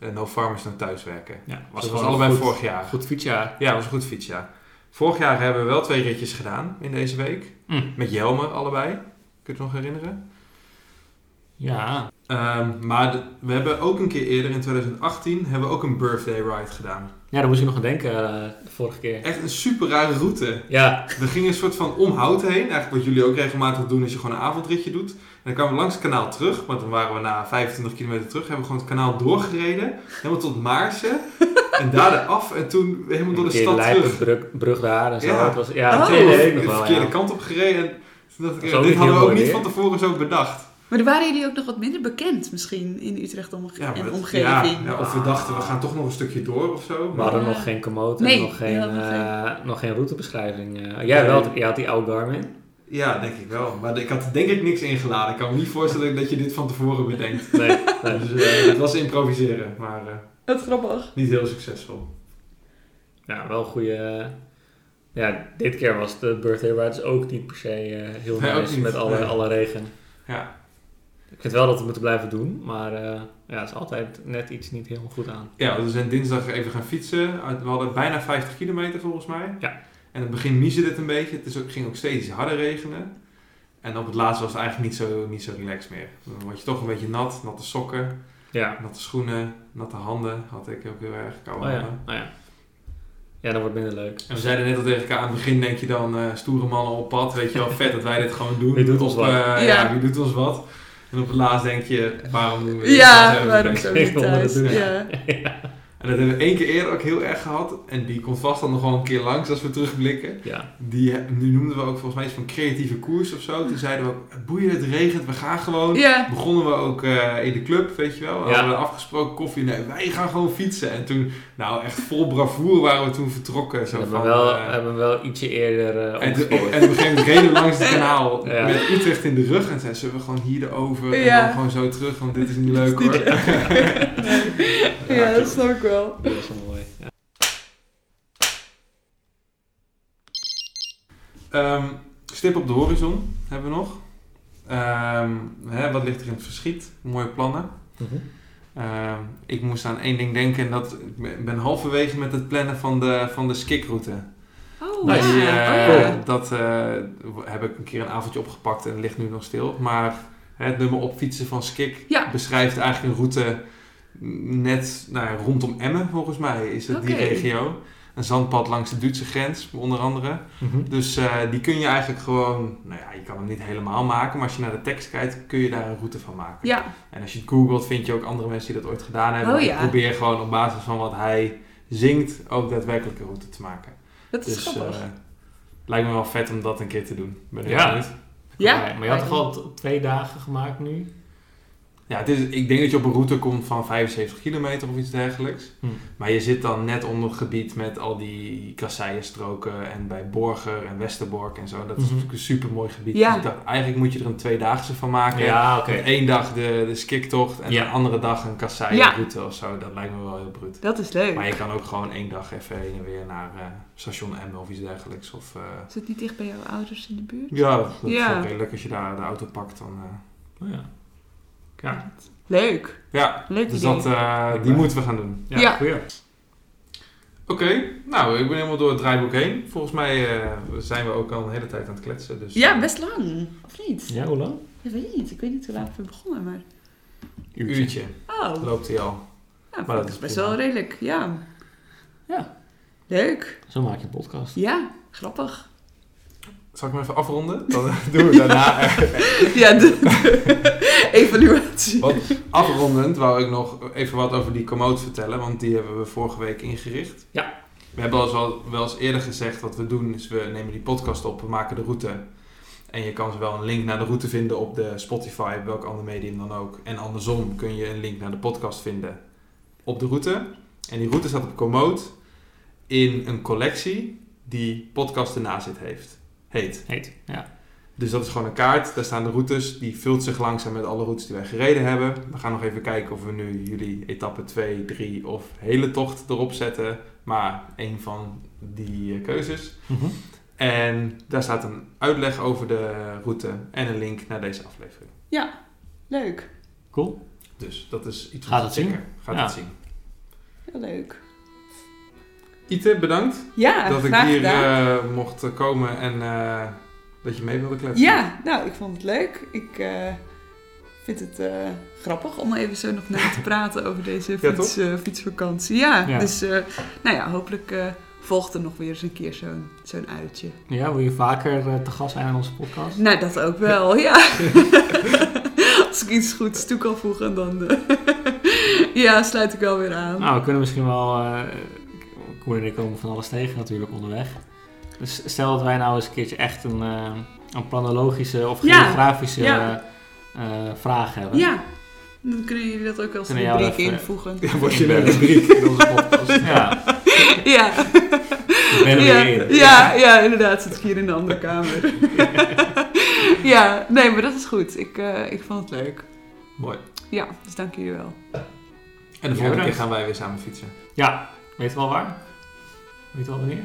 A: eh, No Farmers naar thuiswerken.
C: Ja,
A: Was dat was
C: gewoon
A: allebei
C: goed-
A: vorig jaar.
C: Goed fietsjaar.
A: Ja, was een goed fiets, ja. Vorig jaar hebben we wel twee ritjes gedaan in deze week.
C: Mm.
A: Met Jelmer allebei. Kun je het nog herinneren?
C: Ja.
A: Ehm, maar de- we hebben ook een keer eerder, in 2018, hebben we ook een birthday ride gedaan.
C: Ja, daar moest ik nog aan denken eh, de vorige keer.
A: Echt een super rare route.
C: Ja,
A: We gingen een soort van omhout heen. Eigenlijk wat jullie ook regelmatig doen is je gewoon een avondritje doet. En dan kwamen we langs het kanaal terug. Maar toen waren we na 25 kilometer terug. Hebben we gewoon het kanaal doorgereden. Helemaal tot Maarsen. en daar af. En toen helemaal door de
C: Een keer
A: stad terug.
C: Brug, brug daar en zo.
A: Ja.
C: Ja, was, ja
B: Oh.
C: dat
A: Toen
B: Nee,
C: weet
A: de
C: ik nog wel.
A: verkeerde
C: ja.
A: kant op gereden. En toen dacht ik,
C: Dat is
A: ja,
C: ook
A: dit hadden
C: niet
A: we
C: heel
A: ook
C: mooi
A: niet
C: weer.
A: van tevoren zo bedacht.
B: Maar er waren jullie ook nog wat minder bekend misschien in Utrecht omge-
A: Ja, maar
B: en
A: dat-
B: omgeving.
A: ja, ja, of we dachten, we gaan toch nog een stukje door of zo.
C: We
A: Maar
C: hadden
B: Ja.
C: nog geen commode
B: Nee,
C: en nog geen,
B: we hadden nog
C: eh, nog geen routebeschrijving. eh. jij, wel, jij had die oude Garmin.
A: ja, denk ik wel. Maar ik had denk ik niks ingeladen. Ik kan me niet voorstellen dat je dit van tevoren bedenkt.
C: Nee, nee.
A: Dus eh, het was improviseren, maar eh,
B: Wat grappig.
A: niet heel succesvol.
C: Ja, wel goede. eh, Ja, dit keer was de birthday ride dus ook niet per se eh, heel
A: Nee, ook
C: nice
A: niet,
C: met alle,
A: nee.
C: alle regen.
A: Ja.
C: Ik vind wel dat we het moeten blijven doen, maar eh, ja, het is altijd net iets niet helemaal goed aan.
A: Eh, Ja, we zijn dinsdag even gaan fietsen. We hadden bijna 50 kilometer volgens mij.
C: Ja.
A: En in het begin mieze het een beetje. Het is ook, ging ook steeds harder regenen. En op het laatst was het eigenlijk niet zo, niet zo relaxed meer. Dan word je toch een beetje nat. Natte sokken,
C: Ja.
A: natte schoenen, natte handen. Had ik ook heel erg koude
C: Oh ja,
A: handen.
C: nou ja. Ja, dat wordt minder leuk.
A: En we zeiden net al tegen elkaar, aan het begin denk je dan eh, stoere mannen op pad, weet je wel, vet dat wij dit gewoon doen.
C: Wie doet ons
A: Of,
C: wat?
A: eh, ja.
B: Ja.
A: wie doet ons wat? En op het laatst denk je, waarom doen we dit? Waar zijn
B: Ja,
A: we
B: waarom
A: mee
B: zo
C: Ik
B: niet
C: wilde het
B: thuis?
C: doen.
B: Ja.
A: En dat hebben we één keer eerder ook heel erg gehad. En die komt vast dan nog wel een keer langs als we terugblikken.
C: Ja.
A: Die, die noemden we ook volgens mij iets van creatieve koers of zo. Toen zeiden we ook, boeien het regent, we gaan gewoon.
B: ja.
A: Begonnen we ook eh, in de club, weet je wel. We
C: Ja.
A: hadden afgesproken koffie. Nee, wij gaan gewoon fietsen. En toen, nou echt vol bravoer waren we toen vertrokken.
C: We
A: Zo
C: hebben,
A: van,
C: wel,
A: eh,
C: hebben wel ietsje eerder eh
A: en, toen-
C: opgespoord.
A: en op een gegeven moment reden we langs het kanaal
C: Ja.
A: met Utrecht in de rug. En zeiden ze, we gewoon hier erover en
B: Ja.
A: dan gewoon zo terug. Want dit is niet leuk
B: Dit is
A: hoor.
B: niet ja, dat snap ik wel.
C: Dat is wel mooi. Ja.
A: Ehm, stip op de horizon hebben we nog. Ehm, hè, wat ligt er in het verschiet? Mooie plannen.
C: Mhm.
A: Ehm, ik moest aan één ding denken en dat ik ben- ben halverwege met het plannen van de, van de skikroute.
B: Oh,
C: Nice.
A: Die,
B: ja.
A: eh,
B: Oh, ja.
C: Cool.
A: Dat eh, heb ik een keer een avondje opgepakt en ligt nu nog stil. Maar hè, het nummer op fietsen van Skik
B: Ja.
A: beschrijft eigenlijk een route net nou, ja, rondom Emmen, volgens mij, is het die
B: Oké.
A: regio. Een zandpad langs de Duitse grens, onder andere.
C: Mhm.
A: Dus eh, die kun je eigenlijk gewoon, nou ja, je kan hem niet helemaal maken, maar als je naar de tekst kijkt, kun je daar een route van maken.
B: Ja,
A: En als je het googelt, vind je ook andere mensen die dat ooit gedaan hebben.
B: Oh
A: Ik
B: ja.
A: Probeer gewoon op basis van wat hij zingt, ook daadwerkelijk een route te maken.
B: dat is
A: Dus
B: grappig.
A: eh, lijkt me wel vet om dat een keer te doen. Ben ik
C: Ja.
A: benieuwd.
B: ja,
C: Maar, maar je had toch al t- twee dagen gemaakt nu?
A: Ja, het is, ik denk dat je op een route komt van 75 kilometer of iets dergelijks.
C: Hm.
A: Maar je zit dan net onder het gebied met al die kasseienstroken en bij Borger en Westerbork en zo. Dat is
C: Mhm.
A: natuurlijk een super mooi gebied.
B: Ja.
A: Dus ik dacht, eigenlijk moet je er een tweedaagse van maken.
C: Ja, oké.
A: Met één dag de, de skiktocht en
C: Ja.
A: de andere dag een kasseienroute of zo. Dat lijkt me wel heel bruut.
B: Dat is leuk.
A: Maar je kan ook gewoon één dag even heen en weer naar eh, station Emmen of iets dergelijks. Of, eh,
B: Is het niet dicht bij jouw ouders in de buurt?
A: ja, dat is
B: Ja.
A: ook redelijk als je daar de auto pakt. Dan, eh,
C: Oh, ja. Ja,
B: Leuk.
A: Ja,
B: Leuk
A: dus
B: idee.
A: dat, eh, die moeten we gaan doen.
C: ja,
B: Ja.
C: goeie.
A: Oké, nou, ik ben helemaal door het draaiboek heen. Volgens mij eh, zijn we ook al een hele tijd aan het kletsen. Dus,
B: Ja, best lang. Of niet?
C: Ja, hoe lang?
B: Ik weet niet. Ik weet niet hoe laat we begonnen, maar...
A: Een eh, uurtje
B: Oh,
A: loopt hij al.
B: ja,
A: dat
B: dat
A: is
B: is best
A: prima.
B: wel redelijk. Ja.
C: Ja.
B: Leuk.
C: Zo maak je een podcast.
B: Ja, grappig.
A: Zal ik hem even afronden? Dan doen we daarna. eh,
B: Ja, de, de evaluatie.
A: Want afrondend wou ik nog even wat over die commode vertellen, want die hebben we vorige week ingericht.
C: Ja.
A: We hebben al eens wel, wel eens eerder gezegd wat we doen, is we nemen die podcast op, we maken de route. En je kan wel een link naar de route vinden op de Spotify, welk ander medium dan ook. En andersom kun je een link naar de podcast vinden op de route. En die route staat op Commode in een collectie die podcast erna zit heeft, heet.
C: Heet. Ja.
A: Dus dat is gewoon een kaart. Daar staan de routes. Die vult zich langzaam met alle routes die wij gereden hebben. We gaan nog even kijken of we nu jullie etappe 2, 3 of hele tocht erop zetten. Maar één van die eh, keuzes.
C: Mhm.
A: En daar staat een uitleg over de route en een link naar deze aflevering.
B: Ja, leuk.
C: Cool.
A: Dus dat is iets om
C: Gaat
A: te
C: het zien?
A: checken. Gaat
C: Ja.
A: het zien.
B: Heel leuk.
A: Ite, bedankt
B: Ja,
A: dat ik
B: graag
A: hier
B: gedaan.
A: eh, mocht komen en eh, dat je mee wilde kletsen.
B: Ja, nou, ik vond het leuk. Ik eh, vind het eh, grappig om even zo nog na te praten over deze
A: Ja,
B: fiets, eh, fietsvakantie. Ja,
C: Ja.
B: dus eh, nou ja, hopelijk eh, volgt er nog weer eens een keer zo'n zo'n uitje.
C: Ja, wil je vaker eh, te gast zijn aan onze podcast?
B: Nou, dat ook wel, ja. Als ik iets goeds toe kan voegen, dan eh, ja, sluit ik wel weer aan.
C: Nou, we kunnen misschien wel. eh Koen en ik komen van alles tegen natuurlijk onderweg. Dus stel dat wij nou eens een keertje echt een, eh, een planologische of
B: Ja,
C: geografische
B: ja.
C: eh, eh, vraag hebben.
B: ja, dan kunnen jullie dat ook als
C: Kunnen jou
B: rubriek
C: even-
B: invoegen.
A: Dan word je een rubriek in onze podcast.
C: Ja,
B: Ja.
C: ik ben er
B: ja,
C: weer in.
B: ja, ja, inderdaad, zit ik hier in de andere kamer. ja, nee, maar dat is goed. Ik, eh, ik vond het leuk.
A: Mooi.
B: Ja, dus dank jullie wel.
A: En de
C: Ja,
A: volgende keer
C: bedankt.
A: gaan wij weer samen fietsen.
C: Ja, weet wel waar? Weet wel wanneer?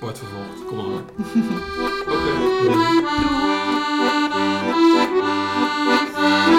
A: Wordt vervolgd.
C: Kom maar door.
A: Oké.
B: Doei.